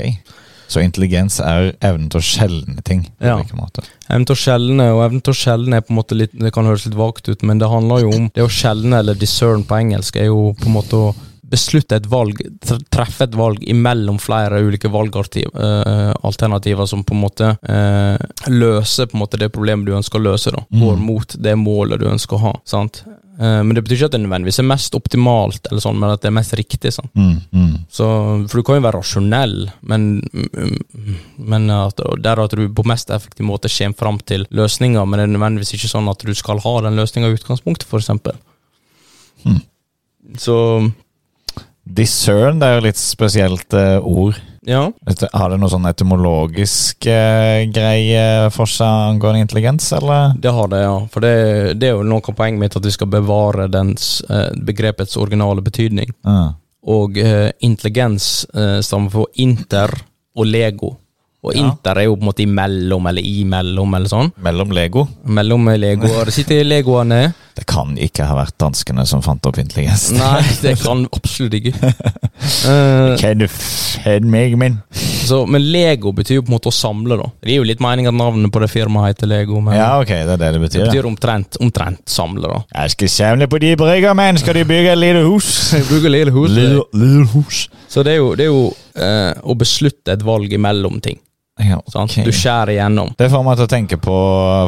S2: Så intelligens er evnen til å skjelne ting på
S3: Ja.
S2: ulike måter.
S3: Evnen til å skjelne, og evnen til å skjelne er på en måte litt Det kan høres litt vagt ut, men det handler jo om Det å skjelne, eller discern på engelsk, er jo på en måte å beslutte et valg, tr- treffe et valg imellom flere ulike valgalternativer som på en måte eh, løser på en måte det problemet du ønsker å løse, da. Går mot det målet du ønsker å ha, sant. Eh, men det betyr ikke at det nødvendigvis er mest optimalt, eller sånn, men at det er mest riktig, sant.
S2: Mm, mm.
S3: Så, for du kan jo være rasjonell, men, men at, og der at du på mest effektiv måte kommer fram til løsninger, men det er nødvendigvis ikke sånn at du skal ha den løsninga i utgangspunktet, f.eks.
S2: Hmm.
S3: Så
S2: Discern det er jo litt spesielt eh, ord.
S3: ja.
S2: Vet du, Har det noe sånn etymologisk eh, greie for seg angående intelligens, eller?
S3: Det har det, ja. For det, det er jo noe av poenget mitt, at vi skal bevare dens, eh, begrepets originale betydning.
S2: Ja.
S3: Og eh, intelligens eh, stammer fra inter og lego. Og
S2: Ja.
S3: inter er jo på en måte imellom, eller imellom, eller sånn.
S2: Mellom Lego.
S3: Mellom legoer. Det sitter legoene.
S2: Det kan ikke ha vært danskene som fant opp intelligens.
S3: Nei, det kan absolutt ikke. Eh,
S2: Kan du fed meg, min?
S3: så, men Lego betyr jo på en måte å samle, da. Det gir jo litt mening at navnet på det firmaet heter Lego, men
S2: Ja, ok, det er det det
S3: det
S2: betyr. ja.
S3: betyr omtrent, omtrent samle, da.
S2: Jeg skal samle på de brygger, men skal de bygge et lite hus?
S3: Jeg bruker lille hus,
S2: Lille, lille hus.
S3: Så det er jo, det er jo eh, å beslutte et valg imellom ting.
S2: Ja,
S3: Sant?
S2: ok.
S3: Du skjærer igjennom.
S2: Det får meg til å tenke på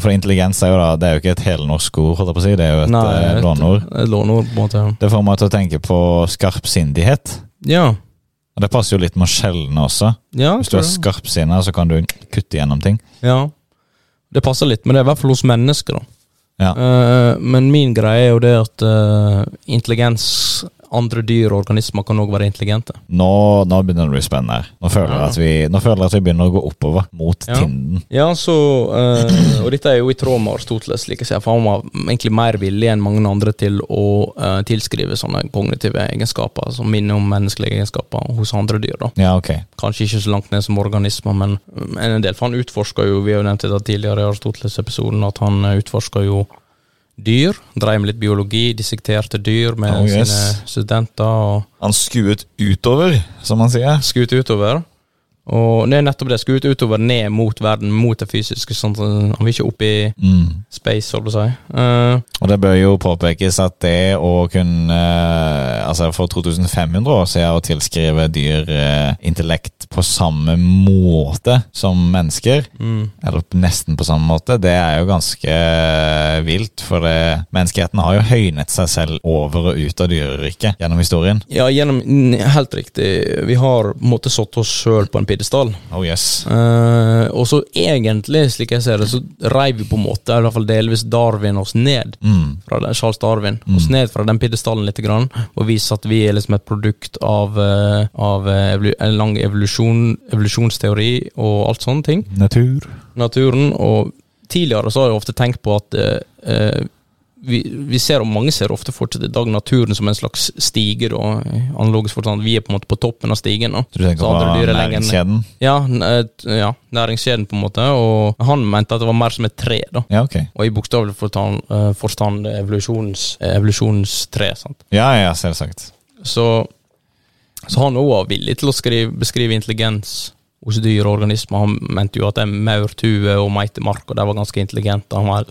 S2: For intelligens er jo da Det er jo ikke et helnorsk ord, holdt jeg på å si. Det er jo et
S3: Nei,
S2: eh,
S3: et-
S2: låneord.
S3: Et låneord, på en måte.
S2: Det får meg til å tenke på skarpsindighet.
S3: Ja.
S2: Og det passer jo litt med å skjelne også.
S3: ja
S2: Hvis du er
S3: tror jeg.
S2: skarpsinna, så kan du kutte gjennom ting.
S3: ja. Det passer litt, men det er i hvert fall hos mennesker, da.
S2: Ja.
S3: Eh, men min greie er jo det at eh, intelligens andre dyr og organismer kan òg være intelligente.
S2: Nå, nå begynner det å bli spennende. her. Nå føler, jeg
S3: Ja.
S2: at vi, nå føler jeg at vi begynner å gå oppover mot
S3: Ja.
S2: tinden.
S3: Ja, så eh, Og dette er jo i tråd med Aristoteles, like jeg sier, for han var egentlig mer villig enn mange andre til å eh, tilskrive sånne kognitive egenskaper som minner om menneskelige egenskaper hos andre dyr. da.
S2: Ja, ok.
S3: Kanskje ikke så langt ned som organismer, men mm, en del. For han utforska jo, vi har jo nevnt det tidligere i Aristoteles-episoden, at han utforska jo dyr. Dreiv med litt biologi, dissekterte dyr med
S2: Oh, yes.
S3: sine studenter. og
S2: Han skuet utover, som man sier.
S3: skutt utover. Og det er nettopp det, skutt utover ned mot verden, mot det fysiske. Sånn, at han vil ikke opp i
S2: Mm.
S3: space, holdt på å si. Eh,
S2: Og det bør jo påpekes at det å kunne eh, Altså, for 2500 år siden å tilskrive dyr eh, intellekt på samme måte som mennesker,
S3: mm,
S2: eller nesten på samme måte, det er jo ganske eh, vilt. For det, menneskeheten har jo høynet seg selv over og ut av dyreriket gjennom historien.
S3: ja, gjennom, n- helt riktig. Vi har på en måte satt oss sjøl på en pidestall.
S2: Oh yes.
S3: Eh, og så egentlig, slik jeg ser det, så reiv vi på en måte, i hvert fall delvis, Darwin oss ned.
S2: Mm.
S3: Fra den, Charles Darwin. Oss ned fra den pidestallen litt, grann, og vise at vi er liksom et produkt av, eh, av eh, evolu en lang evolusjon, evolusjonsteori og alt sånne ting.
S2: Natur.
S3: naturen. Og tidligere så har jeg ofte tenkt på at eh, eh, vi, vi ser, og mange ser ofte fortsatt i dag, naturen som en slags stige. da, i analogisk forstand. Vi er på en måte på toppen av stigen. da.
S2: Så du tenker
S3: Så andre dyr
S2: på
S3: er lenger ned.
S2: næringskjeden?
S3: Ja, n- eh, t- ja, næringskjeden, på en måte. Og han mente at det var mer som et tre. da.
S2: Ja, ok.
S3: Og i bokstavelig forstand, eh, forstand evolusjons, eh, evolusjonstre. sant?
S2: Ja, ja, selvsagt.
S3: Så, så han òg var villig til å skrive, beskrive intelligens hos dyr og organismer. Han mente jo at en maurtue og meitemark og de var ganske intelligente. Han var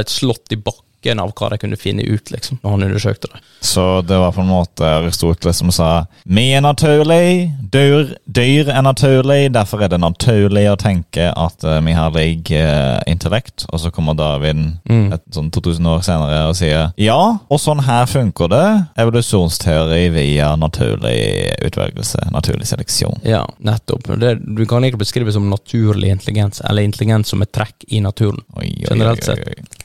S3: et slått i bakken av hva de kunne finne ut, liksom, når han undersøkte det.
S2: Så det var på en måte Aristoteles som sa Vi er naturlig, dyr, dyr er naturlig, derfor er det naturlig å tenke at eh, vi har lik eh, intellekt. Og så kommer Darwin
S3: Mm.
S2: et sånn 2000 år senere og sier ja, og sånn her funker det. Evolusjonsteori via naturlig utvelgelse, naturlig seleksjon.
S3: Ja, nettopp. Det, du kan ikke beskrive som naturlig intelligens, eller intelligens som et trekk i naturen.
S2: Oi, oi, oi,
S3: Generelt
S2: oi,
S3: sett.
S2: oi.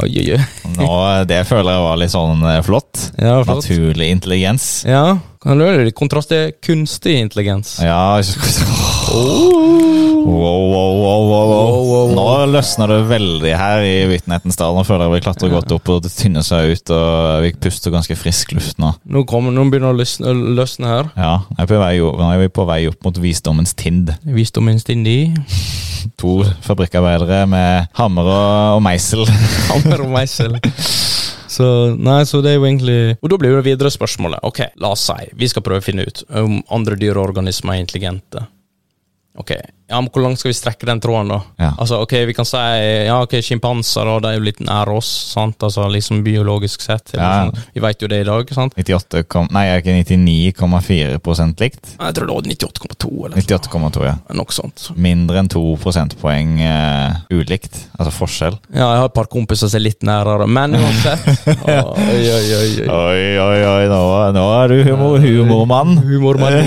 S3: Oi, oi, oi.
S2: Nå, eh, det føler jeg var litt sånn eh, flott.
S3: Ja, flott.
S2: Naturlig intelligens.
S3: Ja, kan du høre det? Kontrast er kunstig intelligens.
S2: Ja ikke- wow, wow, wow, wow, wow.
S3: Oh. Wow, wow, wow.
S2: Nå løsner det veldig her i Vitnettens dal. Nå føler jeg vi klatrer godt opp og det tynner seg ut. Og vi puster ganske frisk luft nå.
S3: Nå, kommer, nå begynner det å løsne, løsne her.
S2: Ja, jeg er på vei, o- nå er vi på vei opp mot visdommens tind.
S3: Visdom instindi.
S2: To fabrikkarbeidere med hammer og, og meisel.
S3: Hammer og meisel. Så, nei, så det er jo egentlig Og da blir jo det videre spørsmålet. Ok, la oss si vi skal prøve å finne ut om andre dyr og organismer er intelligente. Ok, ja, men Hvor langt skal vi strekke den tråden, da?
S2: Ja.
S3: Altså, ok, Vi kan si ja, ok, sjimpanser da, de er jo litt nær oss, sant? Altså, liksom biologisk sett.
S2: Ja.
S3: Sånn. Vi veit jo det i dag. sant?
S2: 98, kom- nei, er ikke 99,4 likt.
S3: Jeg tror det var 98,2 eller
S2: 98,2, ja.
S3: noe sånt.
S2: Mindre enn to prosentpoeng eh, ulikt. Altså forskjell.
S3: Ja, jeg har et par kompiser som er litt nærere, men uansett. oi, oi, oi, oi.
S2: Oi, oi, oi, nå, nå er du humor, humormann.
S3: Humormani.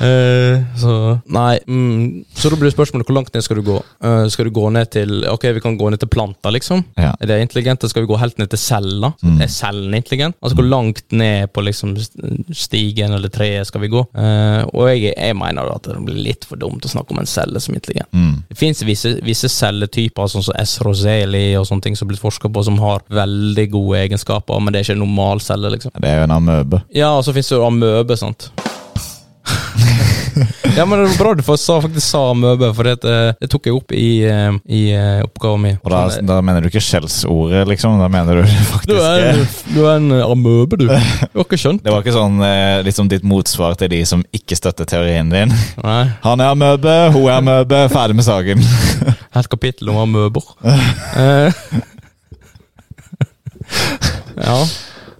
S3: Eh, så Nei, mm, så da blir spørsmålet hvor langt ned skal du gå? Eh, skal du gå ned til Ok, vi kan gå ned til planter, liksom.
S2: Ja.
S3: Er det intelligente? Skal vi gå helt ned til cella? Er cellen intelligent? Altså hvor langt ned på liksom st- stigen eller treet skal vi gå? Eh, og jeg, jeg mener da at det blir litt for dumt å snakke om en celle som intelligent.
S2: Mm.
S3: Det fins visse, visse celletyper, sånn som S. roseli og sånne ting som er blitt forska på, som har veldig gode egenskaper, men det er ikke en normal celle, liksom.
S2: Det er jo en amøbe.
S3: Ja, og så finnes det jo amøbe, sant? ja, men det var bra du først sa, faktisk sa amøbe, for det, eh, det tok jeg opp i, eh, i eh, oppgaven min.
S2: Og da,
S3: Sånn, eh,
S2: da mener du ikke skjellsordet, liksom. Da mener du det
S3: du er,
S2: faktiske
S3: en- du er en eh, amøbe, du. Du har ikke skjønt
S2: Det var ikke sånn eh, liksom ditt motsvar til de som ikke støtter teorien din.
S3: Nei,
S2: Han er amøbe, hun er amøbe, ferdig med saken.
S3: helt kapittel om amøber. Eh, ja.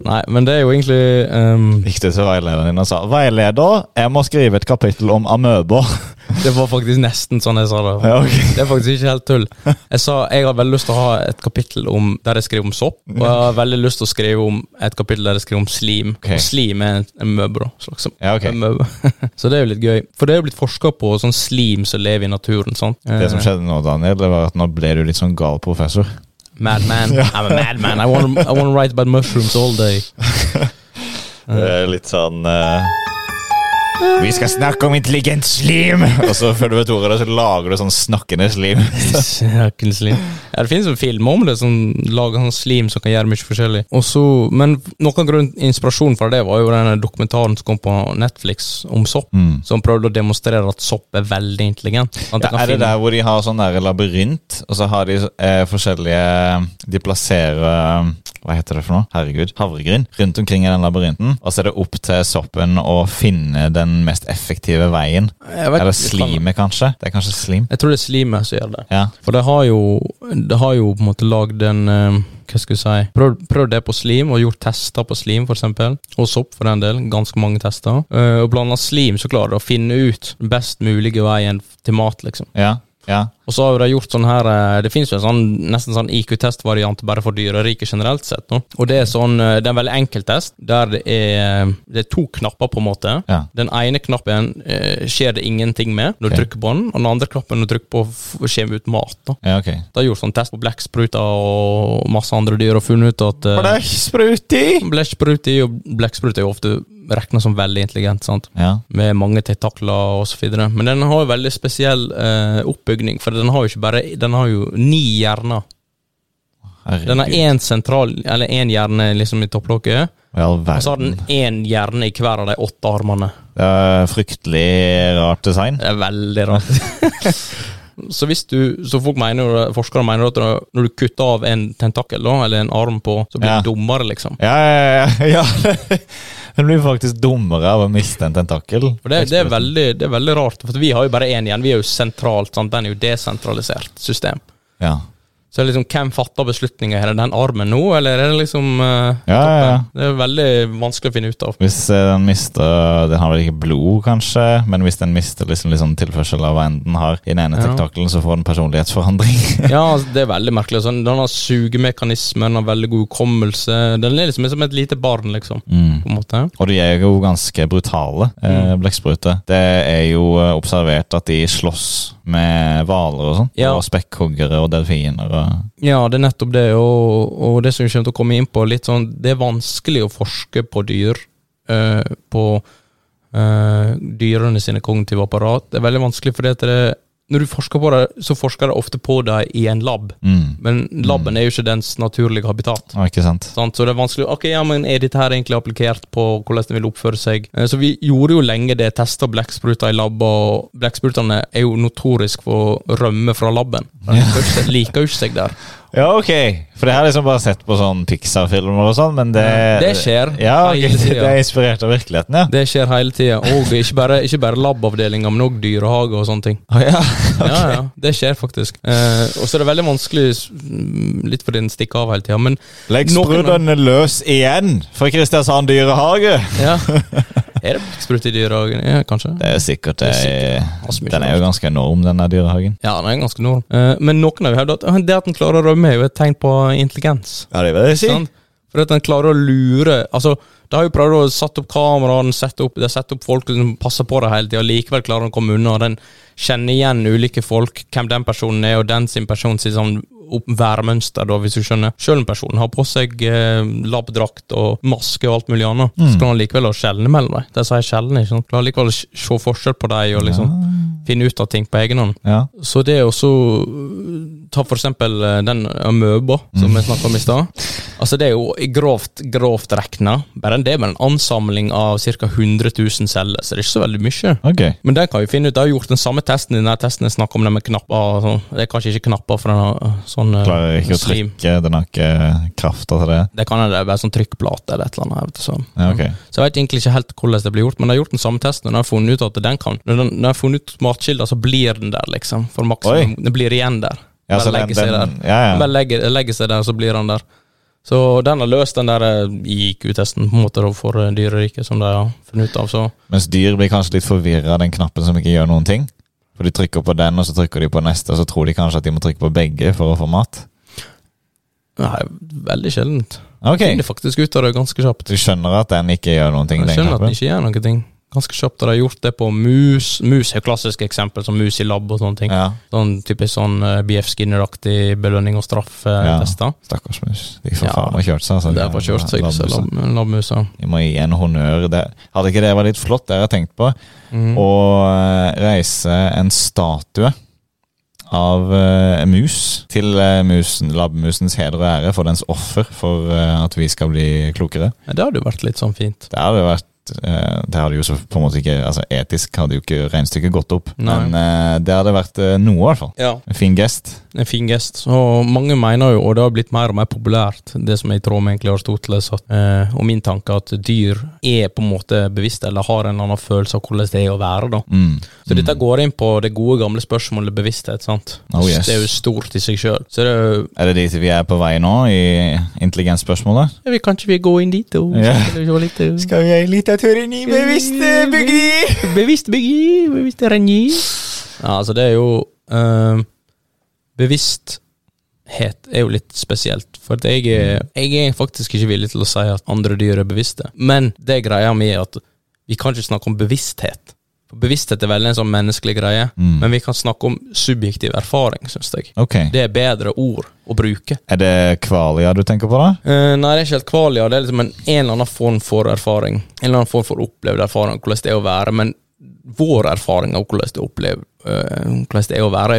S3: Nei, men det er jo egentlig ehm,
S2: Gikk du til veilederen din og sa 'Veileder, jeg må skrive et kapittel om amøber'.
S3: Det var faktisk nesten sånn jeg sa det.
S2: Ja, ok.
S3: Det er faktisk ikke helt tull. Jeg sa jeg har veldig lyst til å ha et kapittel om der jeg skriver om sopp, og jeg har veldig lyst til å skrive om et kapittel der jeg skriver om slim.
S2: Ok.
S3: Og slim er en, en møbel, da. Slags
S2: Ja, ok.
S3: en møbel. Så det er jo litt gøy. For det er jo blitt forska på sånn slim som lever i naturen. sant? Eh,
S2: Det som skjedde nå, Daniel, det var at nå ble du litt sånn gal professor.
S3: Madman. I'm a madman. I wanna, I wanna write about mushrooms all day.
S2: Det er litt sånn eh, Vi skal snakke om intelligent slim! Og så før du vet ordet av det, så lager du sånn snakkende slim.
S3: Snakkende slim. Ja, det finnes jo filmer om det, som lager sånn slim som kan gjøre mye forskjellig. Og så- men noen grunn inspirasjonen fra det var jo den dokumentaren som kom på Netflix om sopp, som prøvde å demonstrere at sopp er veldig intelligent. Mm. Sånn
S2: Ja,
S3: At kan
S2: er det
S3: finne-
S2: der hvor de har sånn der labyrint, og så har de eh, forskjellige De plasserer eh, Hva heter det for noe? Herregud. Havregryn. Rundt omkring i den labyrinten. Og så er det opp til soppen å finne den mest effektive veien.
S3: Jeg vet
S2: Eller
S3: ikke, faen.
S2: slimet, kanskje. Det er kanskje slim.
S3: Jeg tror det er slimet som gjør det.
S2: Ja.
S3: For det har jo, det har jo på en måte lagd en eh, Hva skal jeg si prøvd, prøvd det på slim, og gjort tester på slim, for eksempel Og sopp, for den del. Ganske mange tester. Eh, og blanda slim, så klarer du å finne ut den best mulige veien til mat, liksom.
S2: Ja. Ja.
S3: Og så har jo de gjort sånn her eh, Det finnes jo en sånn, nesten sånn IQ-testvariant bare for dyreriket generelt sett. nå. Og det er sånn, eh, det er en veldig enkel test, der det er, det er to knapper, på en måte.
S2: Ja.
S3: Den ene knappen eh, skjer det ingenting med når du
S2: Ok.
S3: trykker på den, og den andre knappen når du trykker på, f- skjer det ut mat. da.
S2: ja, ok.
S3: De har gjort sånn test på blekkspruter og masse andre dyr og funnet ut at eh,
S2: Blekkspruti!
S3: Blekkspruter er jo- blekkspruter er jo ofte regna som veldig intelligent. sant?
S2: Ja.
S3: med mange tentakler osv. Men den har jo veldig spesiell eh, oppbygning, for den har jo ikke bare Den har jo ni hjerner. Den har
S2: Herregud.
S3: én sentral, eller én hjerne liksom i topplokket,
S2: Hva i all
S3: og så har
S2: verden.
S3: den én hjerne i hver av de åtte armene.
S2: Det er fryktelig rart design.
S3: Det er veldig rart. så hvis du, så folk mener, jo- Forskere mener at når du kutter av en tentakel, da, eller en arm på, så blir
S2: Ja.
S3: du dummere, liksom.
S2: Ja, ja, ja. ja. Den blir faktisk dummere av å miste en tentakel.
S3: For det, det, er veldig, det er veldig rart, for vi har jo bare én igjen. Vi er jo sentralt, sant? den er jo desentralisert system.
S2: Ja,
S3: Så liksom, hvem fatter beslutninger? Er det den armen nå, eller er det liksom eh,
S2: ja, ja. ja.
S3: Det er veldig vanskelig å finne ut av.
S2: Hvis eh, den mister Den har vel ikke blod, kanskje, men hvis den mister liksom, litt sånn tilførsel av hva enn den har i den ene
S3: Ja.
S2: tentakelen, så får den personlighetsforandring.
S3: Ja, altså, det er veldig merkelig. Sånn, den har sugemekanisme, den har veldig god hukommelse. Den er liksom som et lite barn, liksom.
S2: Mm.
S3: På en måte.
S2: Og de er jo ganske brutale, eh, blekkspruter. Det er jo eh, observert at de slåss med hvaler og sånn.
S3: Ja.
S2: Og spekkhoggere og delfiner og
S3: Ja, det er nettopp det, og, og det som vi kommer til å komme inn på, litt sånn, det er vanskelig å forske på dyr, eh, på eh, dyrene sine kognitive apparat. Det er veldig vanskelig, fordi at det, når du forsker på det, så forsker de ofte på det i en lab,
S2: mm.
S3: men laben er jo ikke dens naturlige habitat.
S2: Å, Ikke sant?
S3: Sant? Så det er vanskelig Ok, ja, men er dette her egentlig applikert på hvordan den vil oppføre seg? Eh, Så vi gjorde jo lenge det, testa blekkspruter i lab, og blekksprutene er jo notorisk for å rømme fra laben. De liker jo ikke- liker jo ikke seg der.
S2: Ja, ok! For det har jeg liksom bare sett på sånn Pixar-filmer og sånn, men det
S3: Det skjer
S2: Ja, ok,
S3: hele tiden.
S2: Det er inspirert av virkeligheten, ja.
S3: Det skjer hele tida. Og ikke bare, ikke bare labavdelinga, men òg dyrehage og sånne ting.
S2: Å, ja.
S3: Ja, ja, Det skjer faktisk. Eh, og så er det veldig vanskelig, s- mm, litt fordi den stikker av hele tida, men
S2: Legg
S3: Noen-
S2: sprudene løs igjen fra Kristiansand dyrehage!
S3: ja. Er det blekksprut i dyrehagen? Ja, kanskje?
S2: Det er sikkert det.
S3: Det er sikkert. Altså, mye
S2: den er jo ganske enorm, den der dyrehagen.
S3: Ja, den er ganske enorm. Eh, men noen har jo hevdet at «Åh, det at den klarer å rømme, er jo et tegn på intelligens.
S2: Ja, det vil jeg
S3: Sant? For at den klarer å lure Altså, de har jo prøvd å sette opp kameraene, sette opp, de har satt opp folk som passer på det hele tida, likevel klarer den å komme unna. Den kjenner igjen ulike folk, hvem den personen er, og den sin person sitt sånn opp- værmønster, da, hvis du skjønner. Selv om personen har på seg eh, labdrakt og maske og alt mulig annet, så klarer han likevel å skjelne mellom dem. De sier skjelne, ikke sant. Klarer likevel å s- se forskjell på dem og liksom finne ut av ting på egen hånd.
S2: Ja.
S3: Så det å så ta for eksempel eh, den amøba
S2: Mm.
S3: som vi snakka om i stad. Altså Det er jo i grovt, grovt regna. Bare det med en ansamling av ca. 100 000 celler, så det er ikke så veldig mye.
S2: Ok.
S3: Men den kan vi finne ut. Jeg har gjort den samme testen i den her testen jeg snakka om, den med knapper. og sånn. Det er kanskje ikke knapper, for den har eh, sånn eh,
S2: Klarer ikke å
S3: slim.
S2: trykke, den har ikke krafta eh, til det.
S3: Det kan hende det er bare sånn trykkplate eller et eller annet. jeg Vet, så.
S2: Ja, ok.
S3: Så jeg vet egentlig ikke helt hvordan det blir gjort, men jeg har gjort den samme testen, og jeg har funnet ut at den kan Når den- når jeg har funnet ut matkilder, så blir den der, liksom. For maksimum. Den blir igjen der.
S2: Ja,
S3: Bare
S2: så
S3: legger
S2: den,
S3: seg der.
S2: den, ja,
S3: Han
S2: ja.
S3: Bare legger, legger seg der, så blir han der. Så den har løst den der eh, IQ-testen på en måte da, for eh, dyreriket, som de har funnet ut av. Så
S2: Mens dyr blir kanskje litt forvirra av den knappen som ikke gjør noen ting. For de trykker på den, og så trykker de på neste, og så tror de kanskje at de må trykke på begge for å få mat.
S3: nei, veldig sjeldent.
S2: Ok.
S3: Finner faktisk ut av det ganske kjapt.
S2: Du skjønner at den ikke gjør noen ting?
S3: Jeg
S2: den
S3: skjønner at
S2: knappen.
S3: den ikke gjør noen ting. Ganske kjapt har de gjort det på mus. Mus er jo klassisk eksempel, som mus i lab og sånne ting.
S2: Ja.
S3: Sånn typisk sånn eh, BF Skinner-aktig belønning og
S2: Ja.
S3: strafftester.
S2: Stakkars mus. De får
S3: Ja.
S2: faen meg kjørt seg. altså.
S3: Det er bare kjørt seg, disse
S2: Labmusa.
S3: lab- labmusa.
S2: Vi må gi en honnør. Det, hadde ikke det vært litt flott, det har jeg tenkt på,
S3: Mm.
S2: å eh, reise en statue av eh, mus til eh, musen, labmusens heder og ære for dens offer for eh, at vi skal bli klokere.
S3: Ja, Det hadde jo vært litt sånn fint.
S2: Det hadde jo vært eh, det hadde jo så på en måte ikke altså Etisk hadde jo ikke regnestykket gått opp,
S3: Nei.
S2: men eh, det hadde vært eh, noe, i hvert fall.
S3: Ja.
S2: En fin gest.
S3: En fin gest. Og mange mener jo, og det har blitt mer og mer populært, det som er i tråd med egentlig Aristoteles at, eh, og min tanke, at dyr er på en måte bevisste, eller har en annen følelse av hvordan det er å være. da.
S2: Mm.
S3: Så dette går inn på det gode, gamle spørsmålet bevissthet. sant?
S2: Oh, yes.
S3: Det er jo stort i seg sjøl. Så det er jo
S2: Er det dit vi er på vei nå, i intelligensspørsmålet?
S3: ja, vi Kan ikke vi gå inn dit og
S2: Ja.
S3: skal vi se litt, eh,
S2: Skal vi ha en liten tur inn i
S3: bevisste bygninger? Bevisst byggi, bevisst rengi. Ja, altså det er jo eh, Bevissthet er jo litt spesielt, for at jeg, er, jeg er faktisk ikke villig til å si at andre dyr er bevisste. Men det greia mi er at vi kan ikke snakke om bevissthet. For Bevissthet er veldig en sånn menneskelig greie,
S2: Mm.
S3: men vi kan snakke om subjektiv erfaring, syns jeg.
S2: Ok.
S3: Det er bedre ord å bruke.
S2: Er det Kvalia du tenker på, da?
S3: Eh, nei, det er ikke helt kvalia. Det er liksom en, en eller annen form for erfaring. En eller annen form for opplevd erfaring, hvordan det er å være. Men vår erfaring av hvordan det, opplev, eh, hvordan det er å være,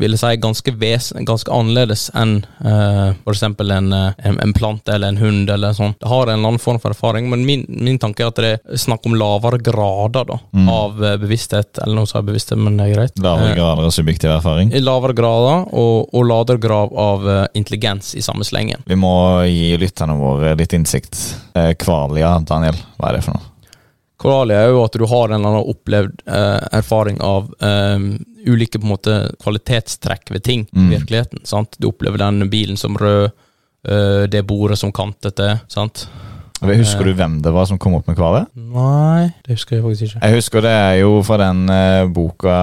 S3: vil jeg si ganske, ves, ganske annerledes enn eh, for eksempel en, eh, en, en plante eller en hund eller sånn. Det har en eller annen form for erfaring, men min, min tanke er at det er snakk om lavere grader da, av eh, bevissthet. Eller nå sa jeg bevissthet, men det er greit.
S2: Lavere
S3: Eh,
S2: grader av subjektiv erfaring.
S3: i lavere grader og, og lavere grad av eh, intelligens i samme slengen.
S2: Vi må gi lytterne våre litt innsikt. Eh, Kvalia, Daniel, hva er det for noe?
S3: Koralia er jo at du har en eller annen opplevd eh, erfaring av eh, ulike på en måte kvalitetstrekk ved ting
S2: Mm.
S3: i virkeligheten. sant? Du opplever den bilen som rød, eh, det bordet som kantete. sant?
S2: Husker
S3: Eh.
S2: du hvem det var som kom opp med kvalia?
S3: Nei, det husker jeg faktisk ikke.
S2: Jeg husker det er jo fra den eh, boka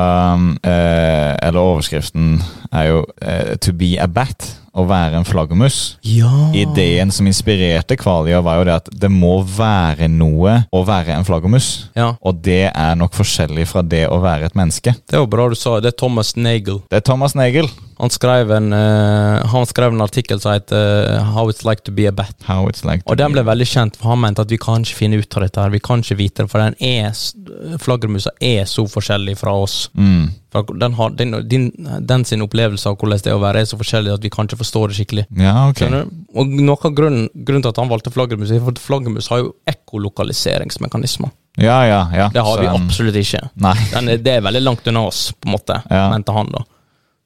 S2: eh, Eller overskriften er jo eh, 'To be a bat'. Å være en flaggermus.
S3: Ja
S2: Ideen som inspirerte Kvalia, var jo det at det må være noe å være en flaggermus.
S3: Ja,
S2: Og det er nok forskjellig fra det å være et menneske.
S3: Det var bra du sa det. Det er Thomas Nagel.
S2: Det er Thomas Nagel.
S3: Han skrev en, eh, han skrev en artikkel som heter eh, 'How it's like to be a bat'.
S2: How it's like to
S3: Og den
S2: be-
S3: ble veldig kjent, for han mente at vi kan ikke finne ut av dette. her, Vi kan ikke vite det, for den er, s- flaggermusa E er så forskjellig fra oss.
S2: mm.
S3: For den, har, den, din, den sin opplevelse av hvordan det er å være, er så forskjellig at vi kan ikke forstå det skikkelig.
S2: Ja, ok.
S3: Skjønner du? Og noe av grunnen, grunnen til at han valgte flaggermus, er for at flaggermus har jo ekkolokaliseringsmekanismer.
S2: Ja, ja, ja.
S3: Det har
S2: Så
S3: vi
S2: den-
S3: absolutt ikke.
S2: Nei.
S3: Den er, det er veldig langt unna oss, på en måte,
S2: Ja.
S3: mente han da.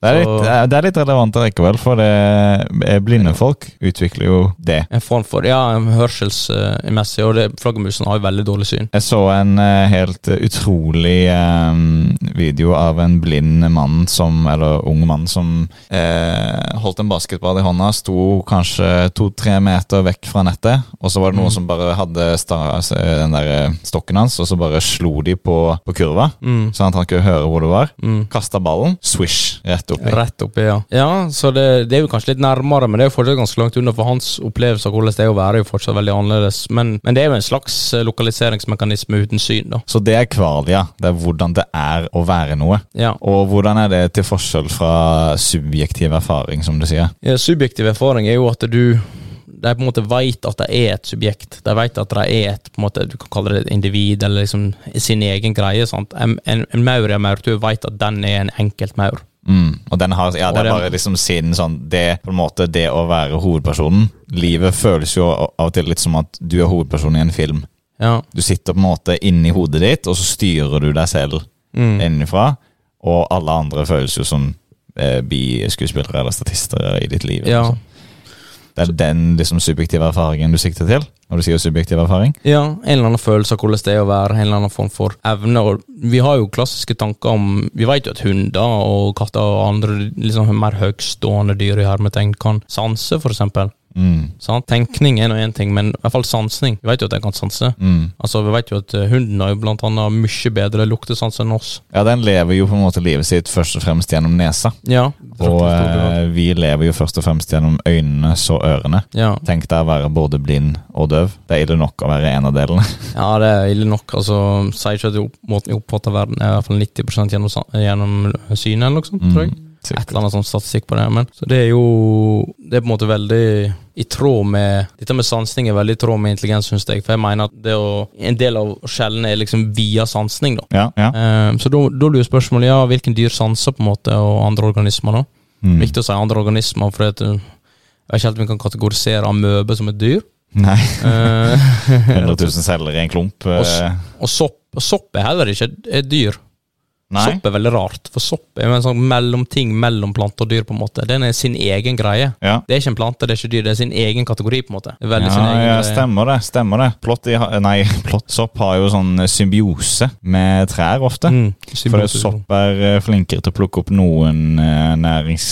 S2: Det er
S3: Så-
S2: litt, eh, det er litt relevant likevel, for det, blinde folk utvikler jo det.
S3: En form for ja, hørselsmessig, og det, flaggermusen har jo veldig dårlig syn.
S2: Jeg så en eh, helt utrolig eh, video av en blind mann som, eller ung mann som eh, holdt en basketball i hånda, sto kanskje to-tre meter vekk fra nettet, og så
S3: Mm.
S2: var det noen som bare hadde sta, altså, den der eh, stokken hans, og så bare slo de på, på kurva,
S3: Mm.
S2: sånn at han kunne høre hvor det var.
S3: Mm.
S2: Kasta ballen, swish, rett oppi.
S3: Rett oppi, ja. Ja, så det, det er jo kanskje litt nærmere, men det er jo fortsatt ganske langt unna, for hans opplevelse av hvordan det er å være, er jo fortsatt veldig annerledes. Men, men det er jo en slags eh, lokaliseringsmekanisme uten syn, da.
S2: Så det er kvalia. Det er hvordan det er å være noe.
S3: Ja.
S2: Og hvordan er det til forskjell fra subjektiv erfaring, som du sier?
S3: Ja, Subjektiv erfaring er jo at du de på en måte vet at de er et subjekt. De vet at de er et på en måte, du kan kalle det et individ, eller liksom sin egen greie. sant? En, en, en maur er en maurtue, vet at den er en enkeltmaur.
S2: Mm. Og den har, ja,
S3: Og
S2: det er
S3: den-
S2: bare liksom siden sånn Det på en måte det å være hovedpersonen. Livet føles jo av og til litt som at du er hovedpersonen i en film.
S3: Ja.
S2: Du sitter på en måte inni hodet ditt, og så styrer du deg selv
S3: Mm.
S2: innenfra. Og alle andre føles jo som eh, biskuespillere eller statister i ditt liv. liksom.
S3: ja.
S2: Det er den liksom subjektive erfaringen du sikter til når du sier subjektiv erfaring.
S3: Ja, en eller annen følelse av hvordan det er å være, en eller annen form for evne. Og vi har jo klassiske tanker om Vi vet jo at hunder og katter og andre liksom, mer høytstående dyr i hermetegn kan sanse, for eksempel.
S2: Mm.
S3: Sant? Tenkning er nå én ting, men i hvert fall sansning. Vi vet jo at den kan sanse.
S2: Mm.
S3: Altså, Vi vet jo at eh, hunden har jo blant annet mye bedre luktesans enn oss.
S2: Ja, den lever jo på en måte livet sitt først og fremst gjennom nesa.
S3: Ja,
S2: Og
S3: Trakter i stor grad.
S2: eh, vi lever jo først og fremst gjennom øynene så ørene.
S3: Ja.
S2: Tenk deg å være både blind og døv. Det er ille nok å være en av delene.
S3: ja, det er ille nok. Altså, Sier ikke at opp, måten jeg oppfatter verden er i hvert fall 90 gjennom, sa- gjennom synet, eller noe sånt,
S2: Mm.
S3: tror jeg. Et eller annet sånn statistikk på det. Men så det er jo Det er på en måte veldig i tråd med Dette med sansing er veldig i tråd med intelligens, syns jeg. For jeg mener at det å En del av skjellene er liksom via sansing, da.
S2: Ja, ja.
S3: Eh, Så da da blir jo spørsmålet ja, hvilken dyr sanser på en måte, og andre organismer, da?
S2: Mm.
S3: Viktig å si andre organismer, for at, uh, jeg vet ikke helt om vi kan kategorisere amøbe som et dyr.
S2: Nei.
S3: Eh,
S2: 100 000 celler i en klump. eh,
S3: Og s- og sopp, og sopp er heller ikke et- et dyr.
S2: Nei.
S3: Sopp er veldig rart, for sopp er jo en sånn mellomting mellom plante og dyr, på en måte. Den er sin egen greie.
S2: Ja.
S3: Det er ikke en plante, det er ikke dyr, det er sin egen kategori, på en måte. Det er veldig sin
S2: Ja,
S3: egen eh,
S2: ja,
S3: greie.
S2: stemmer det. stemmer det Plott i, ha- nei, Plottsopp har jo sånn symbiose med trær ofte.
S3: Mm,
S2: For
S3: symbiose.
S2: sopp er eh, flinkere til å plukke opp noen eh, nærings,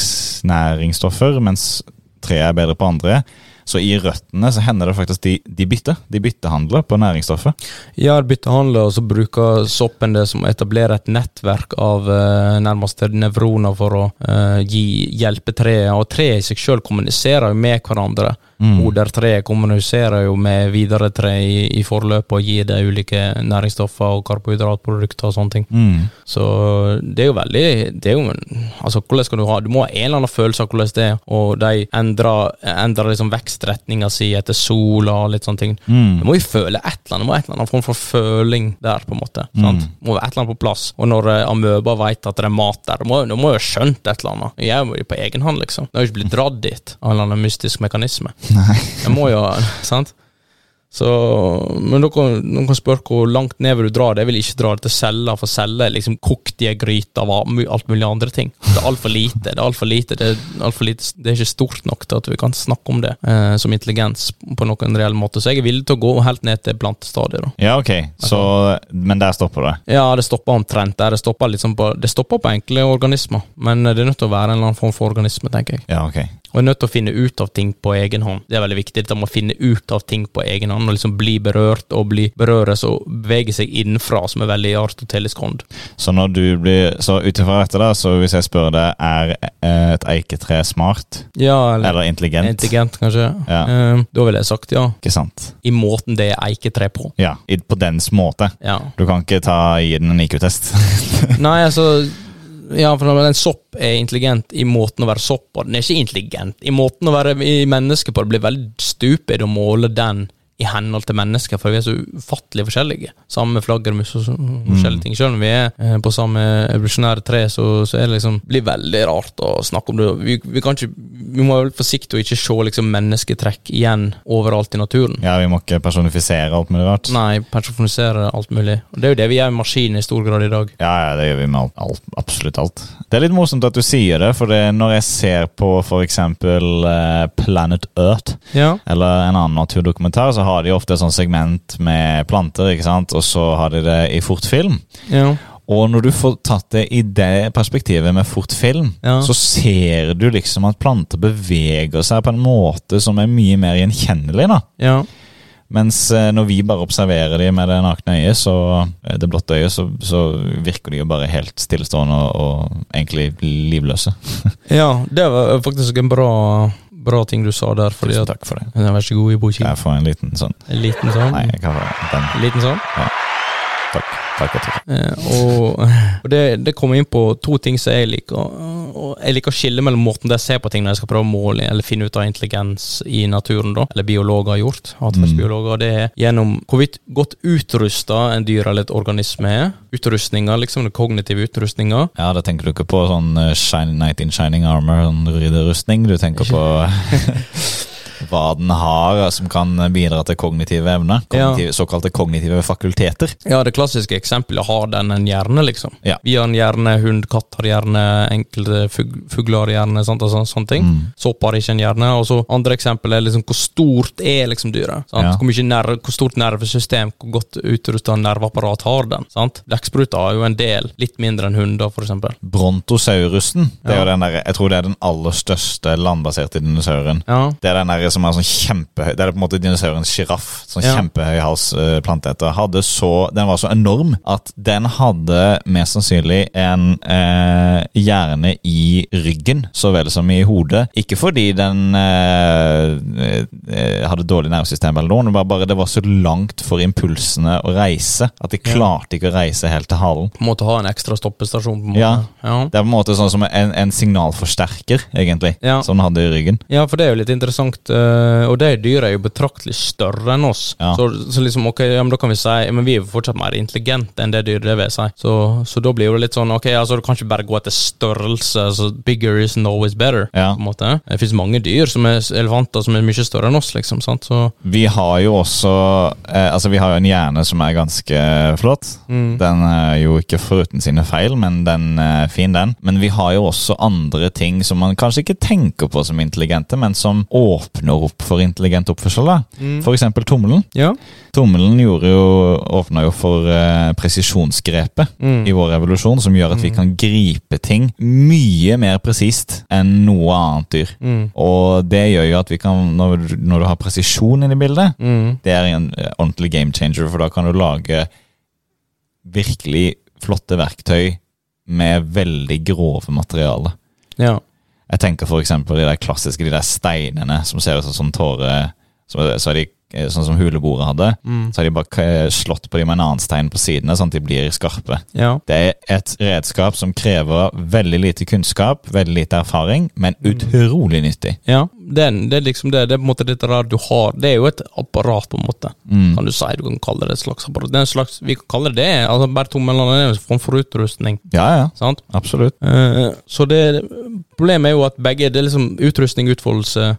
S2: næringsstoffer, mens tre er bedre på andre. Så i røttene så hender det faktisk de, de bytter. De byttehandler på næringsstoffet.
S3: Ja, byttehandler, og så bruker soppen det som etablerer et nettverk av eh, nærmest nevroner for å eh, gi, hjelpe treet. Og treet i seg sjøl kommuniserer jo med hverandre.
S2: Mm.
S3: Modertreet kommuniserer jo med videre tre i, i forløpet og gir det ulike næringsstoffer og karbohydratprodukter og sånne ting. Så det er jo veldig det er jo, en- altså hvordan skal Du ha, du må ha en eller annen følelse av hvordan det er, og de endrer, endrer liksom vekstretninga si etter sola og litt sånne ting. Du må jo føle et eller annet, det må være et eller annet form for føling der, på en måte. Sant? Det Må være et eller annet på plass. Og når eh, amøba vet at det er mat der, da må, da må jeg jo skjønt et eller annet. Jeg er jo på egen hånd, liksom. Jeg har jo ikke blitt dratt dit av en eller annen mystisk mekanisme.
S2: Nei.
S3: Jeg må jo, sant? Så, men dere, noen kan spørre hvor langt ned vil du dra det. Jeg vil ikke dra det til celler, for celler er liksom kokt i ei gryte av mu- alt mulig andre ting. Det er altfor lite. Det er altfor lite, det er alt for lite. Det er ikke stort nok til at vi kan snakke om det eh, som intelligens på noen reell måte. Så jeg er villig til å gå helt ned til plantestadiet, da.
S2: Ja, ok. Så, men der stopper det.
S3: Ja, det stopper omtrent der. Det stopper, liksom på, det stopper på enkle organismer, men det er nødt til å være en eller annen form for organisme, tenker jeg.
S2: Ja, ok.
S3: Og er nødt til å finne ut av ting på egen hånd. Det er veldig viktig. Dette med å finne ut av ting på egen hånd, og liksom bli berørt og bli berøres og bevege seg innenfra, som er veldig i artotelisk hånd.
S2: Så, når du blir, så ut ifra dette, da, så hvis jeg spør deg er eh, et eiketre smart
S3: Ja, eller
S2: eller intelligent,
S3: intelligent, kanskje.
S2: Ja.
S3: Eh, da ville jeg sagt ja.
S2: ikke sant?
S3: I måten det er eiketre på.
S2: Ja, i- på dens måte.
S3: Ja.
S2: Du kan ikke ta, gi den en IQ-test.
S3: Nei, altså ja, for en sopp er intelligent i måten å være sopp på. Den er ikke intelligent i måten å være i menneske på. Det blir veldig stupid å måle den i henhold til mennesker, for vi er så ufattelig forskjellige. Samme flaggermus og så- forskjellige ting. Selv om vi er eh, på samme evolusjonære tre, så, så er det liksom blir veldig rart å snakke om det. Vi, vi, kan ikke, vi må være forsiktige og ikke se liksom, mennesketrekk igjen overalt i naturen.
S2: Ja, vi må ikke personifisere alt mulig rart.
S3: Nei, personifisere alt mulig. Og Det er jo det vi gjør med maskiner i stor grad i dag.
S2: Ja, ja, det gjør vi med alt, alt, absolutt alt. Det er litt morsomt at du sier det, for det, når jeg ser på f.eks. Uh, Planet Earth
S3: Ja.
S2: eller en annen naturdokumentar, så har de ofte et sånt segment med planter, ikke sant? og så har de det i fortfilm.
S3: ja.
S2: Og når du får tatt det i det perspektivet med fortfilm,
S3: Ja.
S2: så ser du liksom at planter beveger seg på en måte som er mye mer gjenkjennelig. da.
S3: ja.
S2: Mens eh, når vi bare observerer de med det nakne øyet, så, eh, det blotte øyet, så, så virker de jo bare helt stillestående og, og egentlig livløse.
S3: Ja, det var eh, faktisk en bra, bra ting du sa der. Fordi
S2: Tusen
S3: at,
S2: takk for det.
S3: Nei, vær så god, Ibo
S2: Kan
S3: Kil.
S2: jeg få en liten sånn
S3: En liten sånn.
S2: Nei, jeg kan få den.
S3: En liten sånn.
S2: Takk. takk, og takk.
S3: Eh, og og det, det kommer inn på to ting som jeg liker. Og og jeg liker å skille mellom måten jeg ser på ting når jeg skal prøve å måle eller finne ut av intelligens i naturen, da, eller biologer har gjort. Atferdsbiologer. Det er gjennom hvorvidt godt utrusta en dyr eller et organisme er. Utrustninga, liksom den kognitive utrustninga.
S2: Ja, da tenker du ikke på sånn eh, shine, Night in Shining Armor, sånn ridderrustning. Du tenker på hva den har eh, som kan bidra til kognitive evner.
S3: Ja.
S2: Kognitive, Såkalte kognitive fakulteter.
S3: Ja, det klassiske eksempelet har den en hjerne, liksom.
S2: Ja.
S3: Vi har en hjerne, hund, katt har hjerne, enkelte fug- fugler har hjerne, sant, og sånne, sånne ting.
S2: Mm.
S3: Sopp har ikke en hjerne. Og så andre eksempel er liksom hvor stort er liksom dyret. Sant?
S2: Ja.
S3: Hvor, mye nerve, hvor stort nervesystem, hvor godt utrusta nerveapparat har den. sant? Blekkspruta har jo en del, litt mindre enn hunder, for eksempel.
S2: Brontosaurusen. Det er jo den der, jeg tror det er den aller største landbaserte dinosauren.
S3: Ja.
S2: Det er den der dyret som er sånn kjempehøy Det er på en måte dinosaurens sjiraff. Sånn
S3: Ja.
S2: kjempehøy hals eh, planteeter. Hadde så Den var så enorm at den hadde mest sannsynlig en eh, hjerne i ryggen så vel som i hodet. Ikke fordi den eh, eh, hadde dårlig nervesystem, eller noe, det var bare det var så langt for impulsene å reise at de klarte ikke å reise helt til halen.
S3: På en måte ha en ekstra stoppestasjon. på en måte.
S2: Ja.
S3: Ja.
S2: Det er på en måte sånn som en, en signalforsterker, egentlig,
S3: Ja.
S2: som den hadde i ryggen.
S3: Ja, for det er jo litt interessant, eh, og de dyra er jo betraktelig større enn oss.
S2: Ja.
S3: Så, så liksom, ok, ja, men da kan vi si ja, men vi er jo fortsatt mer intelligente enn det dyret, det vil jeg si. Så, så da blir jo det litt sånn, ok, altså du kan ikke bare gå etter størrelse, altså bigger isn't always better,
S2: Ja.
S3: på en måte. Det finnes mange dyr som er elefanter som er mye større enn oss, liksom, sant? Så,
S2: Vi har jo også eh, Altså vi har jo en hjerne som er ganske flott. Den er jo ikke foruten sine feil, men den er fin, den. Men vi har jo også andre ting som man kanskje ikke tenker på som intelligente, men som åpner opp for intelligent oppførsel. da For eksempel tommelen.
S3: ja.
S2: Tommelen gjorde jo, åpna jo for eh, presisjonsgrepet i vår revolusjon, som gjør at vi kan gripe ting mye mer presist enn noe annet dyr. Og det gjør jo at vi kan, når, du- når du har presisjon inne i bildet,
S3: Mm.
S2: det er en eh, ordentlig game changer, for da kan du lage virkelig flotte verktøy med veldig grove materialer.
S3: Ja.
S2: Jeg tenker for eksempel de der klassiske de der steinene som ser ut som sånn tåre som, så er de, eh, Sånn som hulebordet hadde. Så har de bare k- slått på dem med en annen stein på sidene, sånn at de blir skarpe.
S3: Ja.
S2: Det er et redskap som krever veldig lite kunnskap, veldig lite erfaring, men utrolig nyttig.
S3: Ja, det er, det er liksom det, det er på en måte dette der du har, det er jo et apparat på en måte, kan du si, du kan kalle det et slags apparat, det er en slags, vi kan kalle det det, altså bare tommelene er en form for utrustning,
S2: Ja, ja.
S3: sant?
S2: Absolutt.
S3: Eh, så det, problemet er jo at begge, det er liksom utrustning, utfoldelse,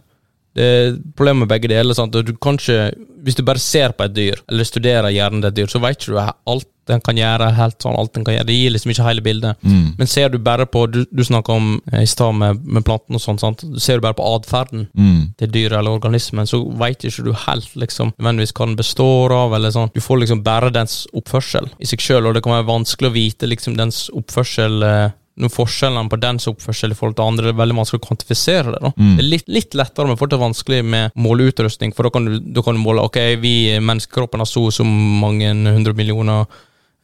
S3: det er problemet med begge deler, sant? og du kan ikke, hvis du bare ser på et dyr, eller studerer hjernen til et dyr, så vet ikke du he- alt den kan gjøre, helt sånn, alt den kan gjøre, det gir liksom ikke hele bildet. Men ser du bare på, du, du snakket om eh, i sted med, med planten og sånn, sant? ser du bare på adferden,
S2: Mm.
S3: til dyret eller organismen, så veit ikke du helt liksom, nødvendigvis hva den består av. eller sånn. Du får liksom bare dens oppførsel i seg sjøl, og det kan være vanskelig å vite liksom dens oppførsel eh, noen forskjellene på dens oppførsel i forhold til andre, det er veldig vanskelig å kvantifisere det. da. Det er litt, litt lettere, men fortsatt vanskelig med måleutrustning, for da kan du, da kan du måle ok, vi eh, menneskekroppen har så og så mange hundre millioner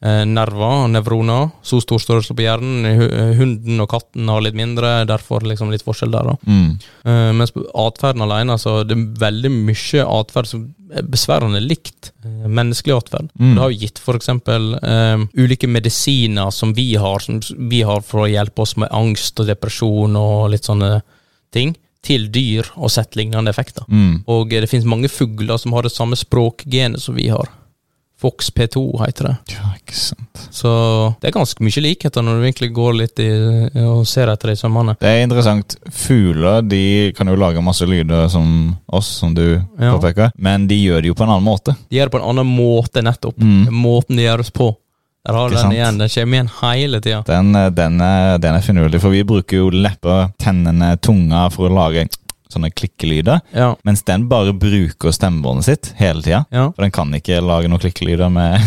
S3: eh, nerver, nevroner, så stor størrelse på hjernen, hu- hunden og katten har litt mindre, derfor liksom litt forskjell der. da.
S2: Mm.
S3: Eh, mens på atferden alene, så det er veldig mye atferd som er besværende likt eh, menneskelig atferd. Det har jo gitt for eksempel eh, ulike medisiner som vi har, som s- vi har for å hjelpe oss med angst og depresjon og litt sånne ting, til dyr og sett lignende effekter.
S2: Mm.
S3: Og eh, det finnes mange fugler som har det samme språkgenet som vi har. Fox P2 heter det.
S2: Ja, ikke sant.
S3: Så det er ganske mye likheter når du egentlig går litt i, og ser etter det i sømmene.
S2: Det er interessant. Fugler de kan jo lage masse lyder som oss, som du
S3: Ja.
S2: påpeker, men de gjør det jo på en annen måte.
S3: De gjør det på en annen måte, nettopp. Måten de gjøres på. Der har du
S2: Mm. Ikke
S3: den
S2: sant?
S3: igjen. Den kommer igjen hele tida.
S2: Den, den, er, den er finurlig, for vi bruker jo lepper, tennene, tunga for å lage sånne klikkelyder.
S3: Ja.
S2: Mens den bare bruker stemmebåndet sitt hele tida.
S3: ja.
S2: For den kan ikke lage noen klikkelyder med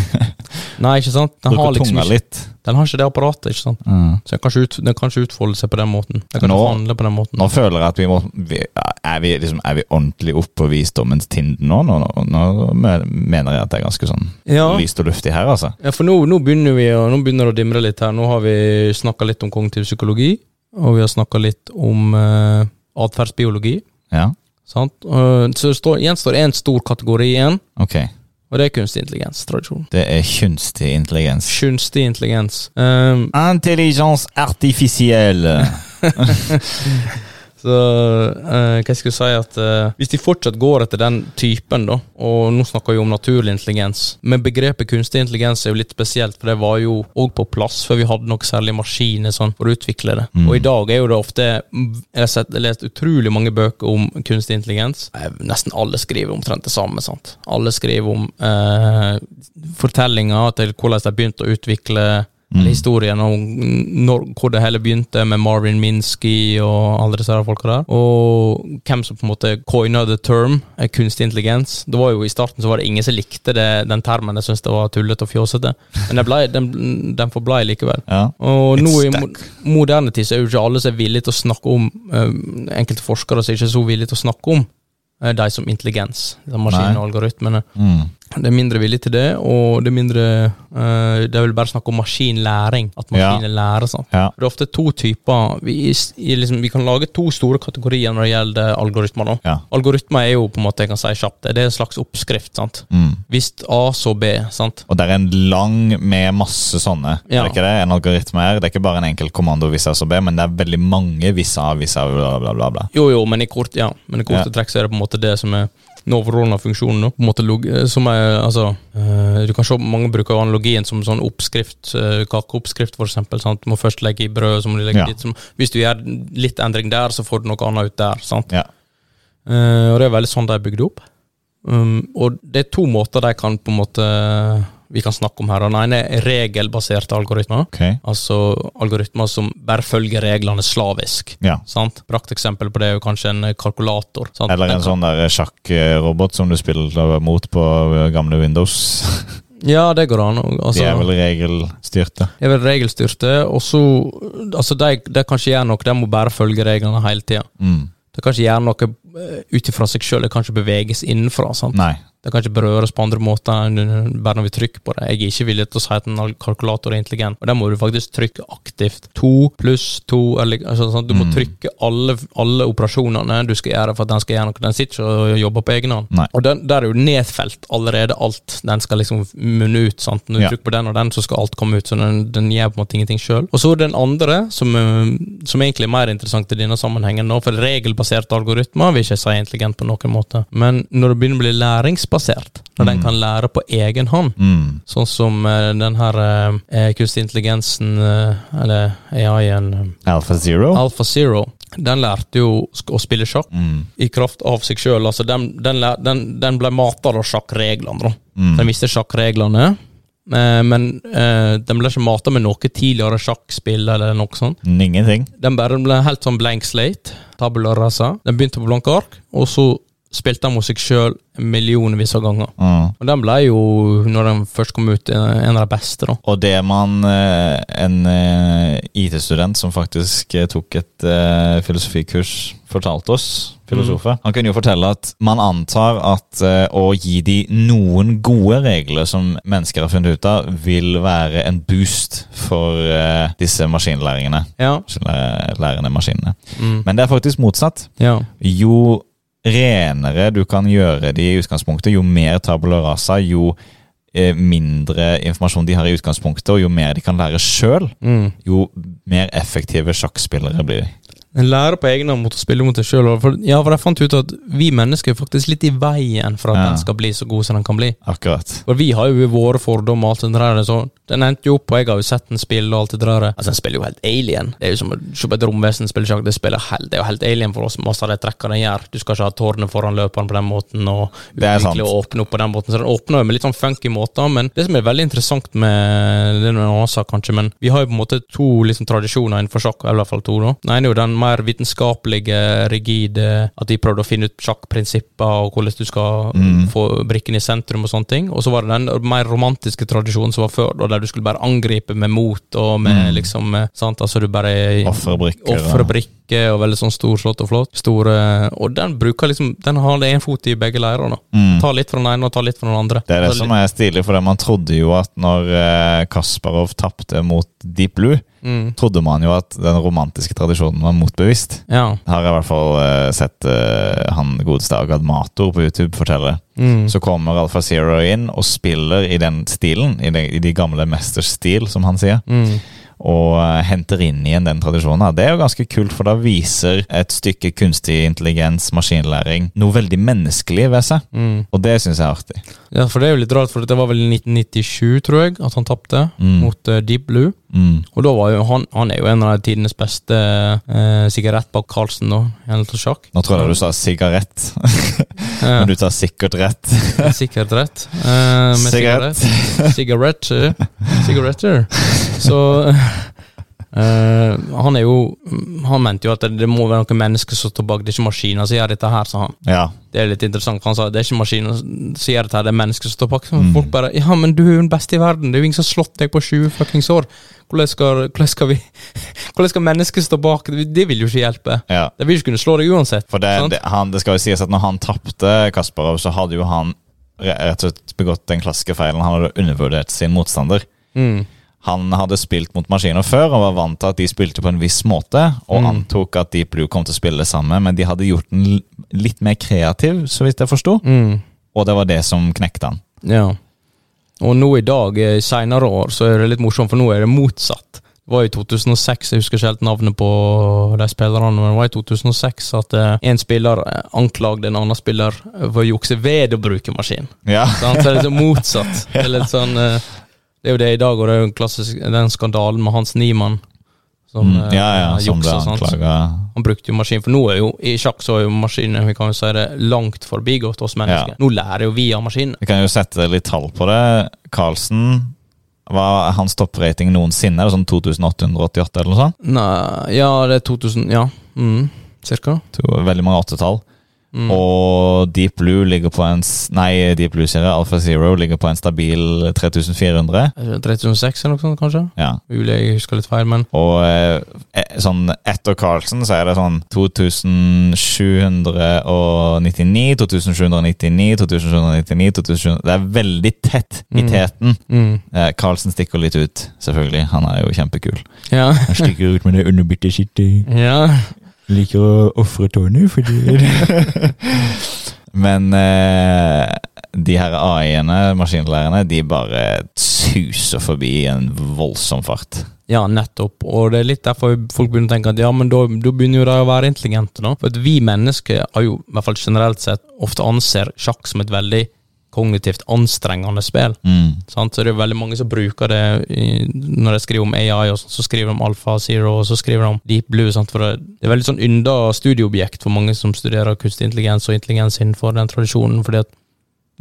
S3: Nei, ikke sant? Den har
S2: Bruker
S3: liksom
S2: tunga
S3: ikke,
S2: litt.
S3: den har ikke det apparatet, ikke sant.
S2: Mm.
S3: Så den kan ikke, ut, den kan ikke utfolde seg på den måten. Den kan
S2: Nå-
S3: ikke handle på den måten.
S2: Nå føler jeg at vi må vi, er, vi liksom, er vi ordentlig oppe på visdommens tind nå? Nå, nå? nå me- mener jeg at det er ganske sånn
S3: Ja.
S2: lyst og luftig her, altså.
S3: Ja, for nå, nå begynner vi å- nå begynner det å dimre litt her. Nå har vi snakka litt om kognitiv psykologi, og vi har snakka litt om uh, atferdsbiologi.
S2: Ja,
S3: Sant? Eh, så det står, gjenstår én stor kategori igjen,
S2: ok.
S3: og det er kunstig intelligens. Tradisjon.
S2: Det er kunstig intelligens.
S3: Kunstig intelligens. Um,
S2: Intelligens artificielle.
S3: Så eh, hva jeg skulle si at eh, Hvis de fortsatt går etter den typen, da, og nå snakker vi om naturlig intelligens Men begrepet kunstig intelligens er jo litt spesielt, for det var jo òg på plass før vi hadde noe særlig maskiner sånn, for å utvikle det. Og i dag er jo det ofte Jeg har sett, lest utrolig mange bøker om kunstig intelligens. Eh, Nesten alle skriver omtrent det samme. sant? Alle skriver om eh, fortellinger til hvordan de begynte å utvikle eller historien om når, hvor det hele begynte, med Marvin Minsky og alle disse her folka der. Og hvem som på en måte coina the term, eh, kunstig intelligens. Det var jo I starten så var det ingen som likte det, den termen. Jeg syntes det var tullete og fjåsete. Men den, ble, den, den forblei likevel.
S2: Ja.
S3: Og
S2: It's
S3: nå i
S2: stuck.
S3: mo- moderne tid så er jo ikke alle som er villige til å snakke om eh, Enkelte forskere som ikke er så villige til å snakke om eh, de som intelligens, de
S2: Nei.
S3: maskinene og algoritmene.
S2: Mm.
S3: Det er mindre vilje til det, og det er mindre eh, Det er vel bare snakk om maskinlæring. At
S2: Ja.
S3: maskiner lærer sånn.
S2: Ja.
S3: Det er ofte to typer vi, s- i liksom, vi kan lage to store kategorier når det gjelder algoritmer. nå.
S2: Ja.
S3: Algoritmer er jo på en måte, jeg kan si kjapt, det er en slags oppskrift. sant?
S2: Mm.
S3: Hvis A, så B. sant?
S2: Og det er en lang med masse sånne.
S3: Ja.
S2: Er det ikke det? En algoritme her. Det er ikke bare en enkelt kommando hvis jeg så B, men det er veldig mange hvis A, hvis A, bla, bla, bla. bla.
S3: Jo, jo, men i kort, ja. Men i korte
S2: Ja.
S3: trekk så er det på en måte det som er den overordna funksjonen. nå. På en måte, log- eh, som er, altså, eh, du kan se Mange bruker jo analogien som sånn oppskrift, eh, kakeoppskrift f.eks. Du må først legge i brød, så må du legge
S2: Ja.
S3: dit. Som, hvis du gjør litt endring der, så får du noe annet ut der. sant?
S2: Ja.
S3: Eh, og det er veldig sånn de er bygd opp. Um, og det er to måter de kan på en måte vi kan snakke om her. og Den ene er regelbaserte algoritmer.
S2: Ok.
S3: Altså algoritmer som bare følger reglene slavisk.
S2: Ja.
S3: Sant? Prakteksempel på det er jo kanskje en eh, kalkulator. Sant?
S2: Eller en sånn der sjakkrobot som du spiller mot på gamle Windows.
S3: Ja, det går an. og- Altså,
S2: sånn- De er vel regelstyrte.
S3: er vel regelstyrte, og så Altså, de, de kan ikke gjøre noe, de må bare følge reglene hele tida.
S2: Mm.
S3: De kan ikke gjøre noe eh, ut ifra seg sjøl, de kan ikke beveges innenfra. sant?
S2: Nei.
S3: Det kan ikke berøres på andre måter enn bare når vi trykker på det. Jeg er ikke villig til å si at en al- kalkulator er intelligent, og der må du faktisk trykke aktivt. To pluss to, eller altså, sånn,
S2: Mm.
S3: Du må trykke alle, alle operasjonene du skal gjøre for at den skal gjøre noe. Den sitter ikke og jobber på egen hånd.
S2: Nei.
S3: Og den, der er jo nedfelt allerede alt den skal liksom munne ut. sant? Når du
S2: Ja.
S3: trykker på den og den, så skal alt komme ut. Så den, den gjør på en måte ingenting sjøl. Og så den andre, som, eh, som egentlig er mer interessant i denne sammenhengen, nå, for regelbaserte algoritmer vil ikke jeg si er intelligent på noen måte. Men når det begynner å bli læringsbasert, når den kan lære på egen hånd
S2: Mm.
S3: Sånn som eh, den her eh, kunstig intelligensen, eh, eller AI-en,
S2: Alpha Zero?
S3: Alfa Zero, den lærte jo sk- å spille sjakk
S2: Mm.
S3: i kraft av seg sjøl. Altså, den, den, lær- den, den ble mata av sjakkreglene. da.
S2: Mm.
S3: Den visste sjakkreglene, eh, men eh, den ble ikke mata med noe tidligere sjakkspill eller noe sånt.
S2: Ingenting.
S3: Den bare ble helt sånn blank slate. Tabula rasa. Den begynte på blanke ark, og så spilte den mot seg sjøl millionvis av ganger.
S2: Mm.
S3: Og den ble jo, når den først kom ut, en en av de beste, da.
S2: Og det man eh, En eh, IT-student som faktisk eh, tok et eh, filosofikurs, fortalte oss, filosofer Han kunne jo fortelle at man antar at eh, å gi de noen gode regler som mennesker har funnet ut av, vil være en boost for eh, disse maskinlæringene.
S3: Ja.
S2: maskinlæ- Lærende maskinene.
S3: Mm.
S2: Men det er faktisk motsatt.
S3: ja.
S2: Jo renere du kan gjøre de i utgangspunktet, jo mer tabula rasa, jo eh, mindre informasjon de har i utgangspunktet, og jo mer de kan lære sjøl,
S3: Mm.
S2: jo mer effektive sjakkspillere blir de.
S3: En lærer på egen hånd mot å spille mot seg sjøl. Ja, for jeg fant ut at vi mennesker er faktisk litt i veien for at
S2: Ja.
S3: den skal bli så god som den kan bli.
S2: Akkurat.
S3: For vi har jo våre fordommer og alt det der. Så den endte jo opp, og jeg har jo sett den spille og alt det der. Altså, den spiller jo helt alien. Det er jo som å se på et romvesen spille sjakk. Det, spiller helt, det er jo helt alien for oss, masse av de trekkene den gjør. Du skal ikke ha tårnet foran løperen på den måten, og
S2: Det er sant.
S3: utvikle og åpne opp på den måten. Så den åpner jo med litt sånn funky måter, men det som er veldig interessant med Det er noe annet sak, kanskje, men vi har jo på en måte to liksom, tradisjoner innenfor sjakk, eller i hvert fall to, da. Den ene er jo den mer vitenskapelige, rigide, at vi prøvde å finne ut sjakkprinsipper og hvordan du skal
S2: Mm.
S3: få brikken i sentrum og sånne ting. Og så var det den mer romantiske tradisjonen som var før, da, der du skulle bare angripe med mot og med
S2: Mm.
S3: liksom eh, sant? Altså du bare
S2: Offerbrikker. og-
S3: Ofre brikker og veldig sånn storslått og flott. Store, og den bruker liksom Den har det én fot i begge leirer. da.
S2: Mm.
S3: Ta litt fra den ene og ta litt fra den andre.
S2: Det er det
S3: Ta
S2: som
S3: litt-
S2: er stilig, for man trodde jo at når eh, Kasparov tapte mot Deep Blue,
S3: Mm.
S2: trodde man jo at den romantiske tradisjonen var motbevist.
S3: Ja.
S2: Har jeg i hvert fall eh, sett eh, han godeste Agad Mator på YouTube fortelle.
S3: Mm.
S2: Så kommer Alfa Zero inn og spiller i den stilen, i de, i de gamle mesters stil, som han sier.
S3: Mm.
S2: Og eh, henter inn igjen den tradisjonen. da. Det er jo ganske kult, for da viser et stykke kunstig intelligens, maskinlæring, noe veldig menneskelig ved seg.
S3: Mm.
S2: Og det syns jeg er artig.
S3: ja, for det er jo litt rart, for det var vel i 1997, tror jeg, at han tapte
S2: Mm.
S3: mot eh, Deep Blue.
S2: Mm.
S3: Og da var jo han Han er jo en av tidenes beste eh, sigarett bak Carlsen, da, i henhold til sjakk.
S2: Nå tror jeg du sa sigarett,
S3: Eh,
S2: men du tar sikkert rett.
S3: Sikkert rett. Eh, med eh,
S2: Sigarett.
S3: sigarett. Sigaretter. Sigaretter. Så Eh, han er jo Han mente jo at det, det må være noen mennesker som står bak, det er ikke maskiner som gjør dette her, sa han.
S2: Ja.
S3: Det er litt interessant, for han sa det er ikke maskiner som gjør dette her, det er mennesker som står bak. Så Folk bare Ja, men du er jo den beste i verden, det er jo ingen som har slått deg på 20 fuckings år. Hvordan skal, hvordan skal vi Hvordan skal mennesker stå bak? Det, det vil jo ikke hjelpe.
S2: ja.
S3: De vil ikke kunne slå deg uansett.
S2: For det,
S3: sant?
S2: det, han, det skal jo sies at når han tapte Kasparov, så hadde jo han re- rett og slett begått den klassiske feilen. Han hadde undervurdert sin motstander.
S3: Mm.
S2: Han hadde spilt mot maskiner før og var vant til at de spilte på en viss måte, og
S3: Mm.
S2: antok at Deep Blue kom til å spille det samme, men de hadde gjort den l- litt mer kreativ, så vidt jeg forsto,
S3: Mm.
S2: og det var det som knekte han.
S3: Ja. Og nå i dag, eh, senere år, så er det litt morsomt, for nå er det motsatt. Det var i 2006, jeg husker ikke helt navnet på de spillerne, men det var i 2006 at eh, en spiller eh, anklagde en annen spiller eh, for å jukse ved å bruke maskin.
S2: Ja,
S3: Sant? Så det er litt sånn motsatt. Det er litt sånn eh, Det er jo det i dag, og det er jo en klassisk, den skandalen med Hans Niemann som
S2: mm,
S3: eh,
S2: ja, ja som ble
S3: juksa, sant?
S2: anklaga.
S3: Han brukte jo maskin, for nå er jo i sjakk så er jo maskinen vi kan jo si det, langt forbigått oss mennesker.
S2: Ja.
S3: Nå lærer jo vi av maskinen.
S2: Vi kan jo sette litt tall på det. Carlsen var hans topprating noensinne, er det sånn 2888 eller noe sånt?
S3: Nei, ja, det er 2000 Ja, mm, cirka.
S2: To, veldig mange åttetall.
S3: Mm.
S2: Og Deep Blue ligger på en s- Nei, Deep Blue serie, Alpha Zero ligger på en stabil 3400.
S3: Er det 3006 eller noe sånt, kanskje?
S2: Ja.
S3: Mulig jeg husker litt feil, men
S2: Og eh, eh, sånn etter Carlsen så er det sånn 2799, 2799, 2799 2700. Det er veldig tett i
S3: Mm.
S2: teten.
S3: mm.
S2: Eh, Carlsen stikker litt ut, selvfølgelig. Han er jo kjempekul.
S3: Ja.
S2: Han stikker ut med det underbitte skittet.
S3: ja.
S2: liker å ofre Tony fordi Men eh, de her AI-ene, maskinlærerne, de bare suser forbi i en voldsom fart.
S3: Ja, nettopp. Og det er litt derfor folk begynner å tenke at ja, men da, da begynner jo de å være intelligente, da. For at vi mennesker har jo, i hvert fall generelt sett, ofte anser sjakk som et veldig kognitivt anstrengende spill.
S2: Mm.
S3: Sant? Så det er jo veldig mange som bruker det i, når de skriver om AI, og sånn, så skriver de om Alfa Zero, og så skriver de om Deep Blue. Sant? For det, det er veldig sånn ynda studieobjekt for mange som studerer kunstig intelligens og intelligens innenfor den tradisjonen. fordi at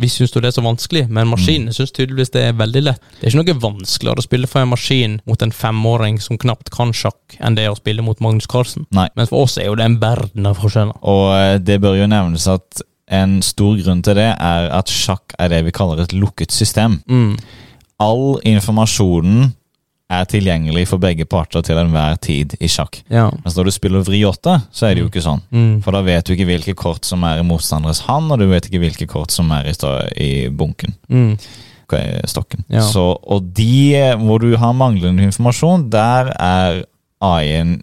S3: vi syns jo det er så vanskelig, men maskinen synes tydeligvis det er veldig lett. Det er ikke noe vanskeligere å spille for en maskin mot en femåring som knapt kan sjakk, enn det er å spille mot Magnus Carlsen.
S2: Nei.
S3: Men for oss er jo det en verden av forskjeller.
S2: Og eh, det bør jo nevnes at en stor grunn til det er at sjakk er det vi kaller et lukket system.
S3: Mm.
S2: All informasjonen er tilgjengelig for begge parter til enhver tid i sjakk.
S3: Ja.
S2: Mens når du spiller vriåte, så er det jo ikke sånn.
S3: Mm.
S2: For da vet du ikke hvilke kort som er i motstanderes hand, og du vet ikke hvilke kort som er i, sta- i bunken.
S3: Mm.
S2: k- Stokken.
S3: Ja.
S2: Så, og de hvor du har manglende informasjon, der er AI-en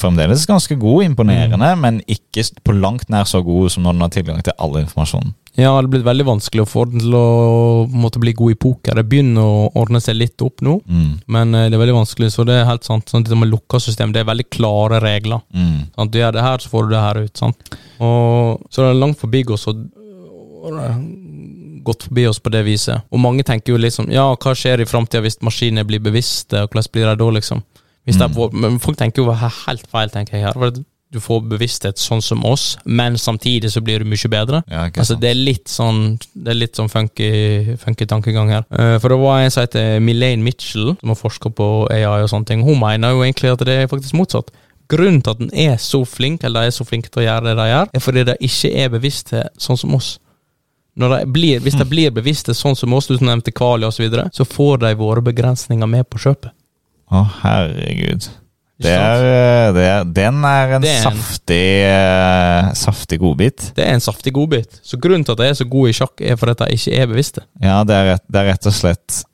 S2: fremdeles ganske god, imponerende,
S3: Mm.
S2: men ikke s- på langt nær så god som når den har tilgang til all informasjonen.
S3: Ja, det har blitt veldig vanskelig å få den til å på en måte, bli god i poker. Det begynner å ordne seg litt opp nå,
S2: Mm.
S3: men eh, det er veldig vanskelig. Så det er helt sant. Sånn, det med lukka system, det er veldig klare regler.
S2: Mm.
S3: Sant? Du gjør det her, så får du det her ut. Sant? Og, så det er langt forbi oss og og det har gått forbi oss på det viset. Og mange tenker jo liksom Ja, hva skjer i framtida hvis maskiner blir bevisste, og hvordan blir de da, liksom? Hvis de
S2: Mm.
S3: får, men folk tenker jo he- helt feil, tenker jeg her. For at Du får bevissthet sånn som oss, men samtidig så blir du mye bedre.
S2: Ja, ikke
S3: Altså,
S2: sant?
S3: det er litt sånn Det er litt sånn funky, funky tankegang her. Eh, for det var en som heter Milane Mitchell, som har forska på AI og sånne ting. Hun mener jo egentlig at det er faktisk motsatt. Grunnen til at den er så flink, eller de er så flinke til å gjøre det de gjør, er fordi de ikke er bevisste sånn som oss. Når de blir, hvis
S2: Mm.
S3: de blir bevisste sånn som oss, du som nevnte Kali osv., så, videre, så får de våre begrensninger med på kjøpet.
S2: Å, herregud.
S3: Ikke
S2: Det
S3: sant?
S2: er, eh, det er, den er en
S3: Det er en-
S2: saftig, eh, saftig godbit.
S3: det er en saftig godbit. Så grunnen til at de er så gode i sjakk, er fordi at de ikke er bevisste.
S2: Ja, det er, rett, det er rett og slett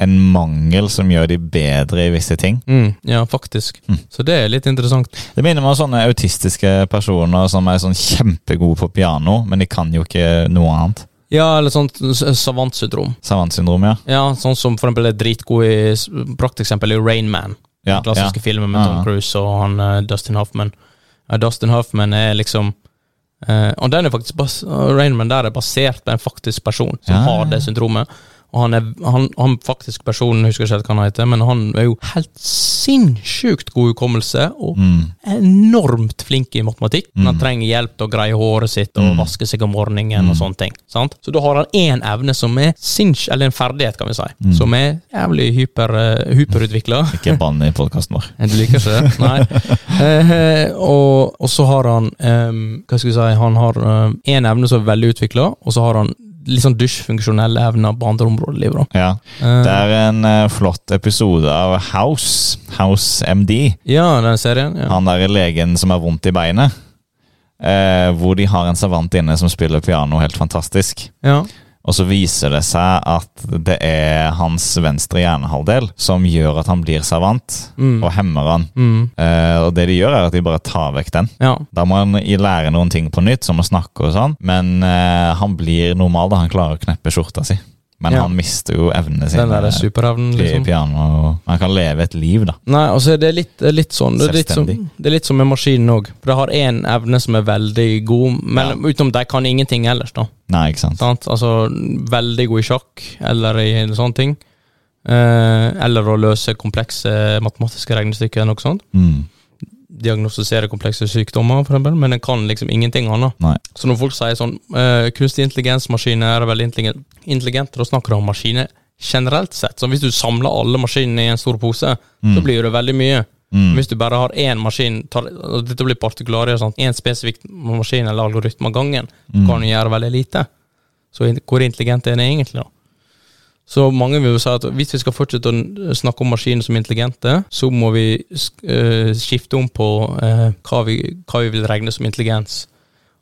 S2: en mangel som gjør de bedre i visse ting.
S3: Ja, faktisk.
S2: Mm.
S3: Så det er litt interessant.
S2: Det minner meg om sånne autistiske personer som er sånn kjempegode på piano, men de kan jo ikke noe annet.
S3: Ja, eller sånt s- savantsyndrom.
S2: Savantsyndrom, ja.
S3: Ja, sånn som for eksempel er dritgod i s- prakteksempel i Rain Man.
S2: Ja,
S3: den klassiske filmen med
S2: Ja,
S3: Tom
S2: ja.
S3: Cruise og han eh, Dustin Hoffman. Eh, Dustin Hoffman er liksom eh, Og den er faktisk bas Rain Man der er basert på en faktisk person som
S2: Ja, ja,
S3: har det
S2: ja.
S3: syndromet. Og han er han, han faktisk personen, husker ikke helt hva han heter, men han er jo helt sinnssykt god hukommelse og
S2: Mm,
S3: enormt flink i matematikk. Men han trenger hjelp til å greie håret sitt
S2: Mm.
S3: og vaske seg om morgenen og sånne ting. Sant? Så da har han én evne som er sinns... Eller en ferdighet, kan vi si,
S2: Mm.
S3: som er jævlig hyper, eh, hyperutvikla.
S2: Ikke bann i podkasten vår.
S3: Du liker ikke det? Nei. Eh, og, og så har han ehm, Hva skal vi si Han har én evne som er veldig utvikla, og så har han litt sånn dusjfunksjonelle evner på andre områder i livet. da.
S2: Ja.
S3: Eh,
S2: Det er en eh, flott episode av House, House MD.
S3: Ja, den serien. Ja.
S2: Han der legen som har vondt i beinet. Eh, hvor de har en savant inne som spiller piano helt fantastisk.
S3: ja.
S2: Og så viser det seg at det er hans venstre hjernehalvdel som gjør at han blir savant,
S3: Mm.
S2: og hemmer han.
S3: Mm.
S2: Eh, og det de gjør, er at de bare tar vekk den.
S3: ja.
S2: Da må han i- lære noen ting på nytt, som å snakke og sånn. Men eh, han blir normal da han klarer å kneppe skjorta si. Men
S3: Ja.
S2: han mister jo evnene sine
S3: Den derre superevnen,
S2: til
S3: liksom.
S2: piano. og Han kan leve et liv, da.
S3: Nei, altså det er litt, det er litt sånn det er litt, som,
S2: Selvstendig.
S3: det er litt som med maskinen òg. For det har én evne som er veldig god, men utenom de kan ingenting ellers, da.
S2: Nei, ikke sant?
S3: Sant? Altså, veldig god i sjakk, eller i sånne ting. Eh, eller å løse komplekse matematiske regnestykker, noe sånt.
S2: Mm.
S3: Diagnostisere komplekse sykdommer, for eksempel, men en kan liksom ingenting annet.
S2: Nei.
S3: Så når folk sier sånn eh, kunstig intelligens-maskiner er veldig intelligen- intelligente, da snakker de om maskiner generelt sett. Så hvis du samler alle maskinene i en stor pose, så blir det veldig mye.
S2: Mm.
S3: Hvis du bare har én maskin, tar, og dette blir partikulære, sant? én spesifikk maskin eller algoritme av gangen,
S2: mm.
S3: kan du gjøre veldig lite. Så in- hvor intelligent er det egentlig, da? Så mange vil jo si at hvis vi skal fortsette å n- snakke om maskiner som intelligente, så må vi sk- eh, skifte om på eh, hva, vi, hva vi vil regne som intelligens.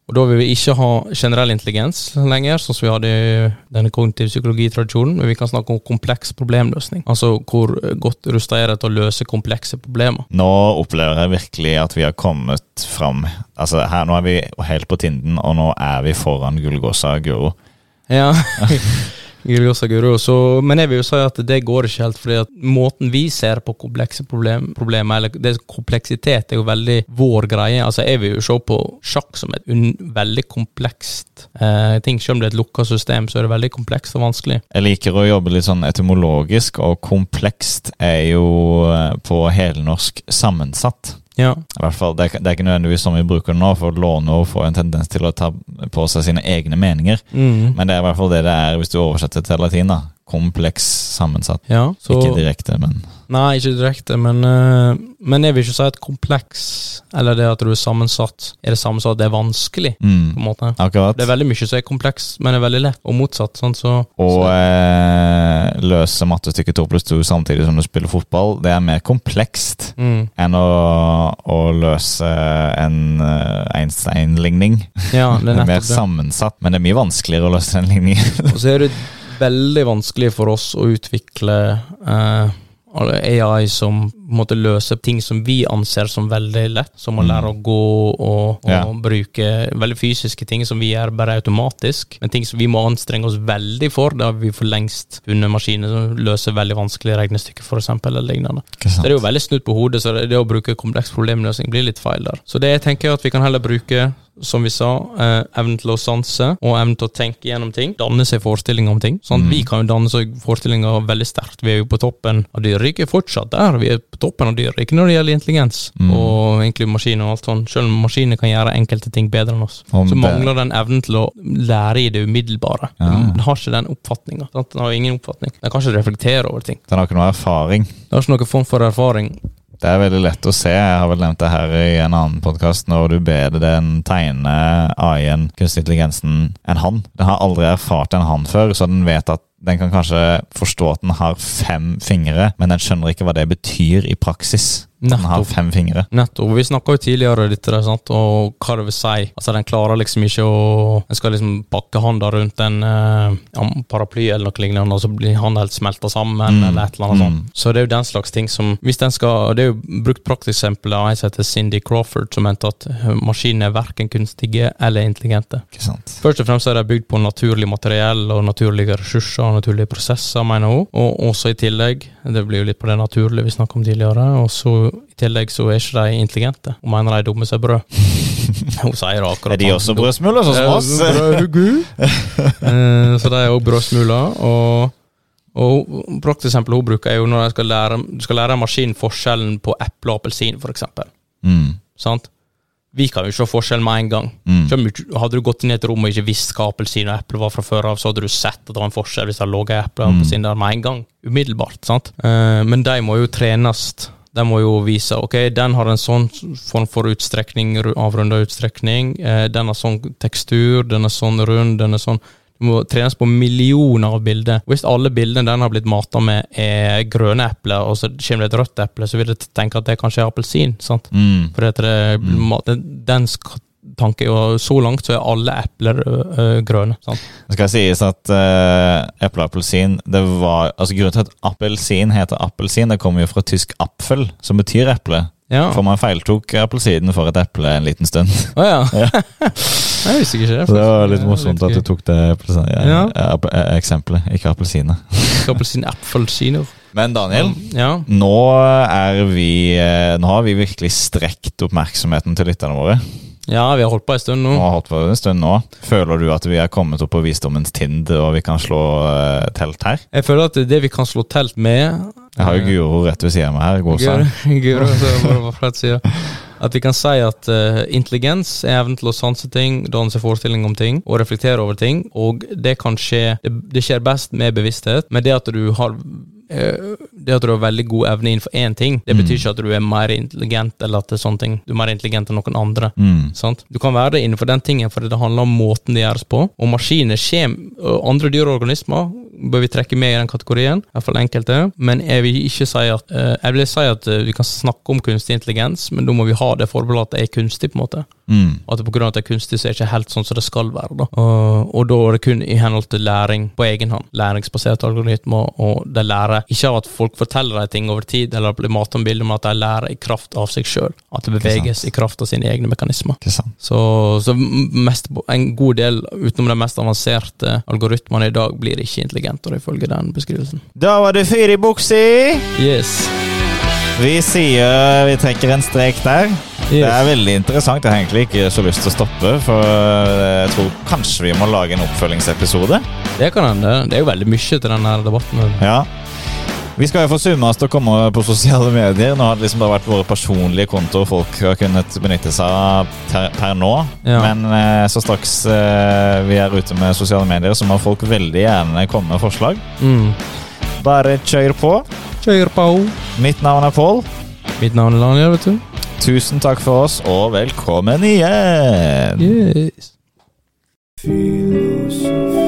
S3: Og da vil vi ikke ha generell intelligens lenger, sånn som vi hadde i denne kognitive psykologitradisjonen, men vi kan snakke om kompleks problemløsning. Altså hvor eh, godt rusta er det til å løse komplekse problemer.
S2: Nå opplever jeg virkelig at vi har kommet fram. Altså, her, nå er vi helt på tinden, og nå er vi foran Gullgåsa Guro.
S3: Ja. Gulgosa guru. Så, men jeg vil jo si at det går ikke helt, fordi at måten vi ser på komplekse problem, problemer, eller det, kompleksitet, er jo veldig vår greie. Altså, jeg vil jo se på sjakk som et un, veldig komplekst eh, ting. Selv om det er et lukka system, så er det veldig komplekst og vanskelig.
S2: Jeg liker å jobbe litt sånn etymologisk, og komplekst er jo eh, på helnorsk sammensatt.
S3: Ja.
S2: I hvert fall, det, er- det er ikke nødvendigvis som vi bruker det nå, for låneord får en tendens til å ta på seg sine egne meninger.
S3: Mm.
S2: Men det er i hvert fall det det er hvis du oversetter til latin. da. Kompleks sammensatt.
S3: ja så,
S2: Ikke direkte, men
S3: Nei, ikke direkte, men, eh, men jeg vil ikke si at kompleks, eller det at du er sammensatt, er det samme som at det er vanskelig, på
S2: mm,
S3: en måte.
S2: akkurat.
S3: Det er veldig mye som er komplekst, men det er veldig lett, og motsatt. Sånn, så,
S2: Å
S3: så,
S2: eh, løse mattestykket to pluss to samtidig som du spiller fotball, det er mer komplekst
S3: mm,
S2: enn å, å løse en eh, Einstein-ligning.
S3: ja, det
S2: Det
S3: er
S2: er mer
S3: nettopp det.
S2: sammensatt, men det er mye vanskeligere å løse den ligningen.
S3: Og så er det veldig vanskelig for oss å utvikle eh, alle AI som måtte løse ting som vi anser som veldig lett, som å lære å gå og, og
S2: Mm. Ja.
S3: bruke veldig fysiske ting som vi gjør bare automatisk, men ting som vi må anstrenge oss veldig for, da har vi for lengst funnet maskiner som løser veldig vanskelige regnestykker, for eksempel, eller lignende. Så det er jo veldig snudd på hodet, så det, det å bruke kompleks problemløsning blir litt feil der. Så det jeg tenker at vi kan heller bruke, som vi sa, eh, evnen til å sanse og evnen til å tenke gjennom ting. Danne seg forestillinger om ting.
S2: Mm.
S3: Sånn, Vi kan jo danne seg forestillinger veldig sterkt. Vi er jo på toppen av dyreriket fortsatt der. Vi er på toppen av dyreriket når det gjelder intelligens
S2: Mm.
S3: og egentlig maskiner og alt sånn. Selv om maskiner kan gjøre enkelte ting bedre enn oss,
S2: Om
S3: så
S2: det-
S3: mangler den evnen til å lære i det umiddelbare. Den har ikke den oppfatninga. Den har ingen oppfatning. Den kan ikke reflektere over ting.
S2: Den har ikke noe erfaring.
S3: Den har ikke noen form for erfaring.
S2: Det er veldig lett å se. Jeg har vel nevnt det her i en annen podkast, når du ber den tegne AI-en, kunstig intelligensen, en hann. Den har aldri erfart en hann før, så den vet at den kan kanskje forstå at den har fem fingre, men den skjønner ikke hva det betyr i praksis. at Den har
S3: Nettopp.
S2: fem fingre.
S3: Nettopp. Vi snakka jo tidligere om dette, der, sant? og hva det vil si. Altså, den klarer liksom ikke å En skal liksom pakke handa rundt en eh, ja, paraply eller noe lignende, og så blir handa helt smelta sammen,
S2: Mm.
S3: eller et eller annet
S2: Mm.
S3: sånt. Så det er jo den slags ting som Hvis den skal Det er jo brukt prakteksempel av en som heter Cindy Crawford, som mente at eh, maskiner er verken kunstige eller intelligente.
S2: Ikke sant?
S3: Først og fremst er de bygd på naturlig materiell og naturlige ressurser og naturlige prosesser, mener hun. Og også i tillegg, det blir jo litt på det naturlige vi snakket om tidligere, og så i tillegg så er ikke de intelligente. Hun mener de er dumme som brød. Hun sier det akkurat
S2: Er
S3: sånn.
S2: de også brødsmuler, sånn som oss?
S3: Eh, brødhugu. Eh, Så de er òg brødsmuler. Og Og hun- Prakteksempel hun bruker, er jo når jeg skal lære, du skal lære en maskin forskjellen på eple og appelsin, for eksempel
S2: Mm.
S3: Sant? Vi kan jo se forskjellen med en gang.
S2: Mm.
S3: Selv om du- Hadde du gått inn i et rom og ikke visst hva appelsin og eple var fra før av, så hadde du sett at det var en forskjell hvis det lå en eple og appelsin der med en gang. Umiddelbart. sant? Eh, men de må jo trenes. De må jo vise ok, den har en sånn form for utstrekning, ru- avrunda utstrekning. eh, den har sånn tekstur, den er sånn rund, den er sånn Du må trenes på millioner av bilder. Hvis alle bildene den har blitt mata med, er grønne epler, og så kommer det et rødt eple, så vil jeg tenke at det kanskje er appelsin. sant?
S2: Mm.
S3: For at det, ma- den- dens k- tanke er jo Så langt så er alle epler ø, ø, grønne. Sant?
S2: Det skal sies at eh, eple og appelsin det var, altså Grunnen til at appelsin heter appelsin, det kommer jo fra tysk apfel, som betyr eple.
S3: Ja.
S2: For man feiltok appelsinen for et eple en liten stund.
S3: Å ja.
S2: Ja.
S3: Jeg visste ikke det.
S2: Så det var
S3: faktisk.
S2: litt
S3: Ja,
S2: morsomt at du tok det appelsin- ja,
S3: Ja.
S2: app- eh, eksempelet, ikke appelsinet.
S3: gøy. Appelsin, appelsiner.
S2: Men Daniel,
S3: Ja.
S2: nå, er vi, eh, nå har vi virkelig strekt oppmerksomheten til lytterne våre.
S3: ja, vi har holdt på en stund
S2: Nå
S3: nå.
S2: har holdt på en stund nå. Føler du at vi er kommet opp på visdommens tind, og vi kan slå eh, telt her?
S3: Jeg føler at det er det vi kan slå telt med eh,
S2: Jeg har jo Guro rett ved siden av meg her. God sang.
S3: Guro- Guro, så var det bare for å si det. At vi kan si at eh, intelligens er evnen til å sanse ting, danne seg forestilling om ting og reflektere over ting. Og det kan skje Det, det skjer best med bevissthet, men det at du har eh, det at du har veldig god evne innenfor én ting, det betyr ikke at du er mer intelligent eller at det er sånne ting. Du er mer intelligent enn noen andre.
S2: Mm.
S3: Sant? Du kan være det innenfor den tingen, for det handler om måten det gjøres på. Og maskiner, kjem, og andre dyr og organismer bør vi trekke med i den kategorien, i hvert fall enkelte. Men jeg vil ikke si at eh, Jeg vil si at eh, vi kan snakke om kunstig intelligens, men da må vi ha det forbeholdet at det er kunstig, på en måte.
S2: Mm.
S3: At det på grunn av at det er kunstig, så er det ikke helt sånn som det skal være. Da. Og, og da er det kun i henhold til læring på egen hånd. Læringsbaserte algoritmer, og de lærer ikke av at folk forteller dem ting over tid, eller blir matet med bilder, men at de lærer i kraft av seg sjøl. At det beveges i kraft av sine egne mekanismer.
S2: Ikke sant?
S3: Så, så m- mest, en god del, utenom de mest avanserte algoritmene i dag, blir ikke intelligente, ifølge den beskrivelsen.
S2: Da var det fyr i buksa!
S3: Yes.
S2: Vi sier vi trekker en strek der. Det
S3: Yes.
S2: er veldig interessant. Jeg har egentlig ikke så lyst til å stoppe, for eh, jeg tror kanskje vi må lage en oppfølgingsepisode.
S3: Det kan hende. Det er jo veldig mye til denne debatten.
S2: Ja. Vi skal jo få summa oss til å komme på sosiale medier. Nå har det liksom bare vært våre personlige kontoer folk har kunnet benytte seg av per, per nå.
S3: Ja.
S2: Men eh, så straks eh, vi er ute med sosiale medier, så må folk veldig gjerne komme med forslag.
S3: Mm.
S2: Bare kjør på.
S3: Kjør på.
S2: Mitt navn er Pål.
S3: Mitt navn er Lanja, vet du.
S2: Tusen takk for oss, og velkommen igjen!
S3: Yes.
S1: Filosofi.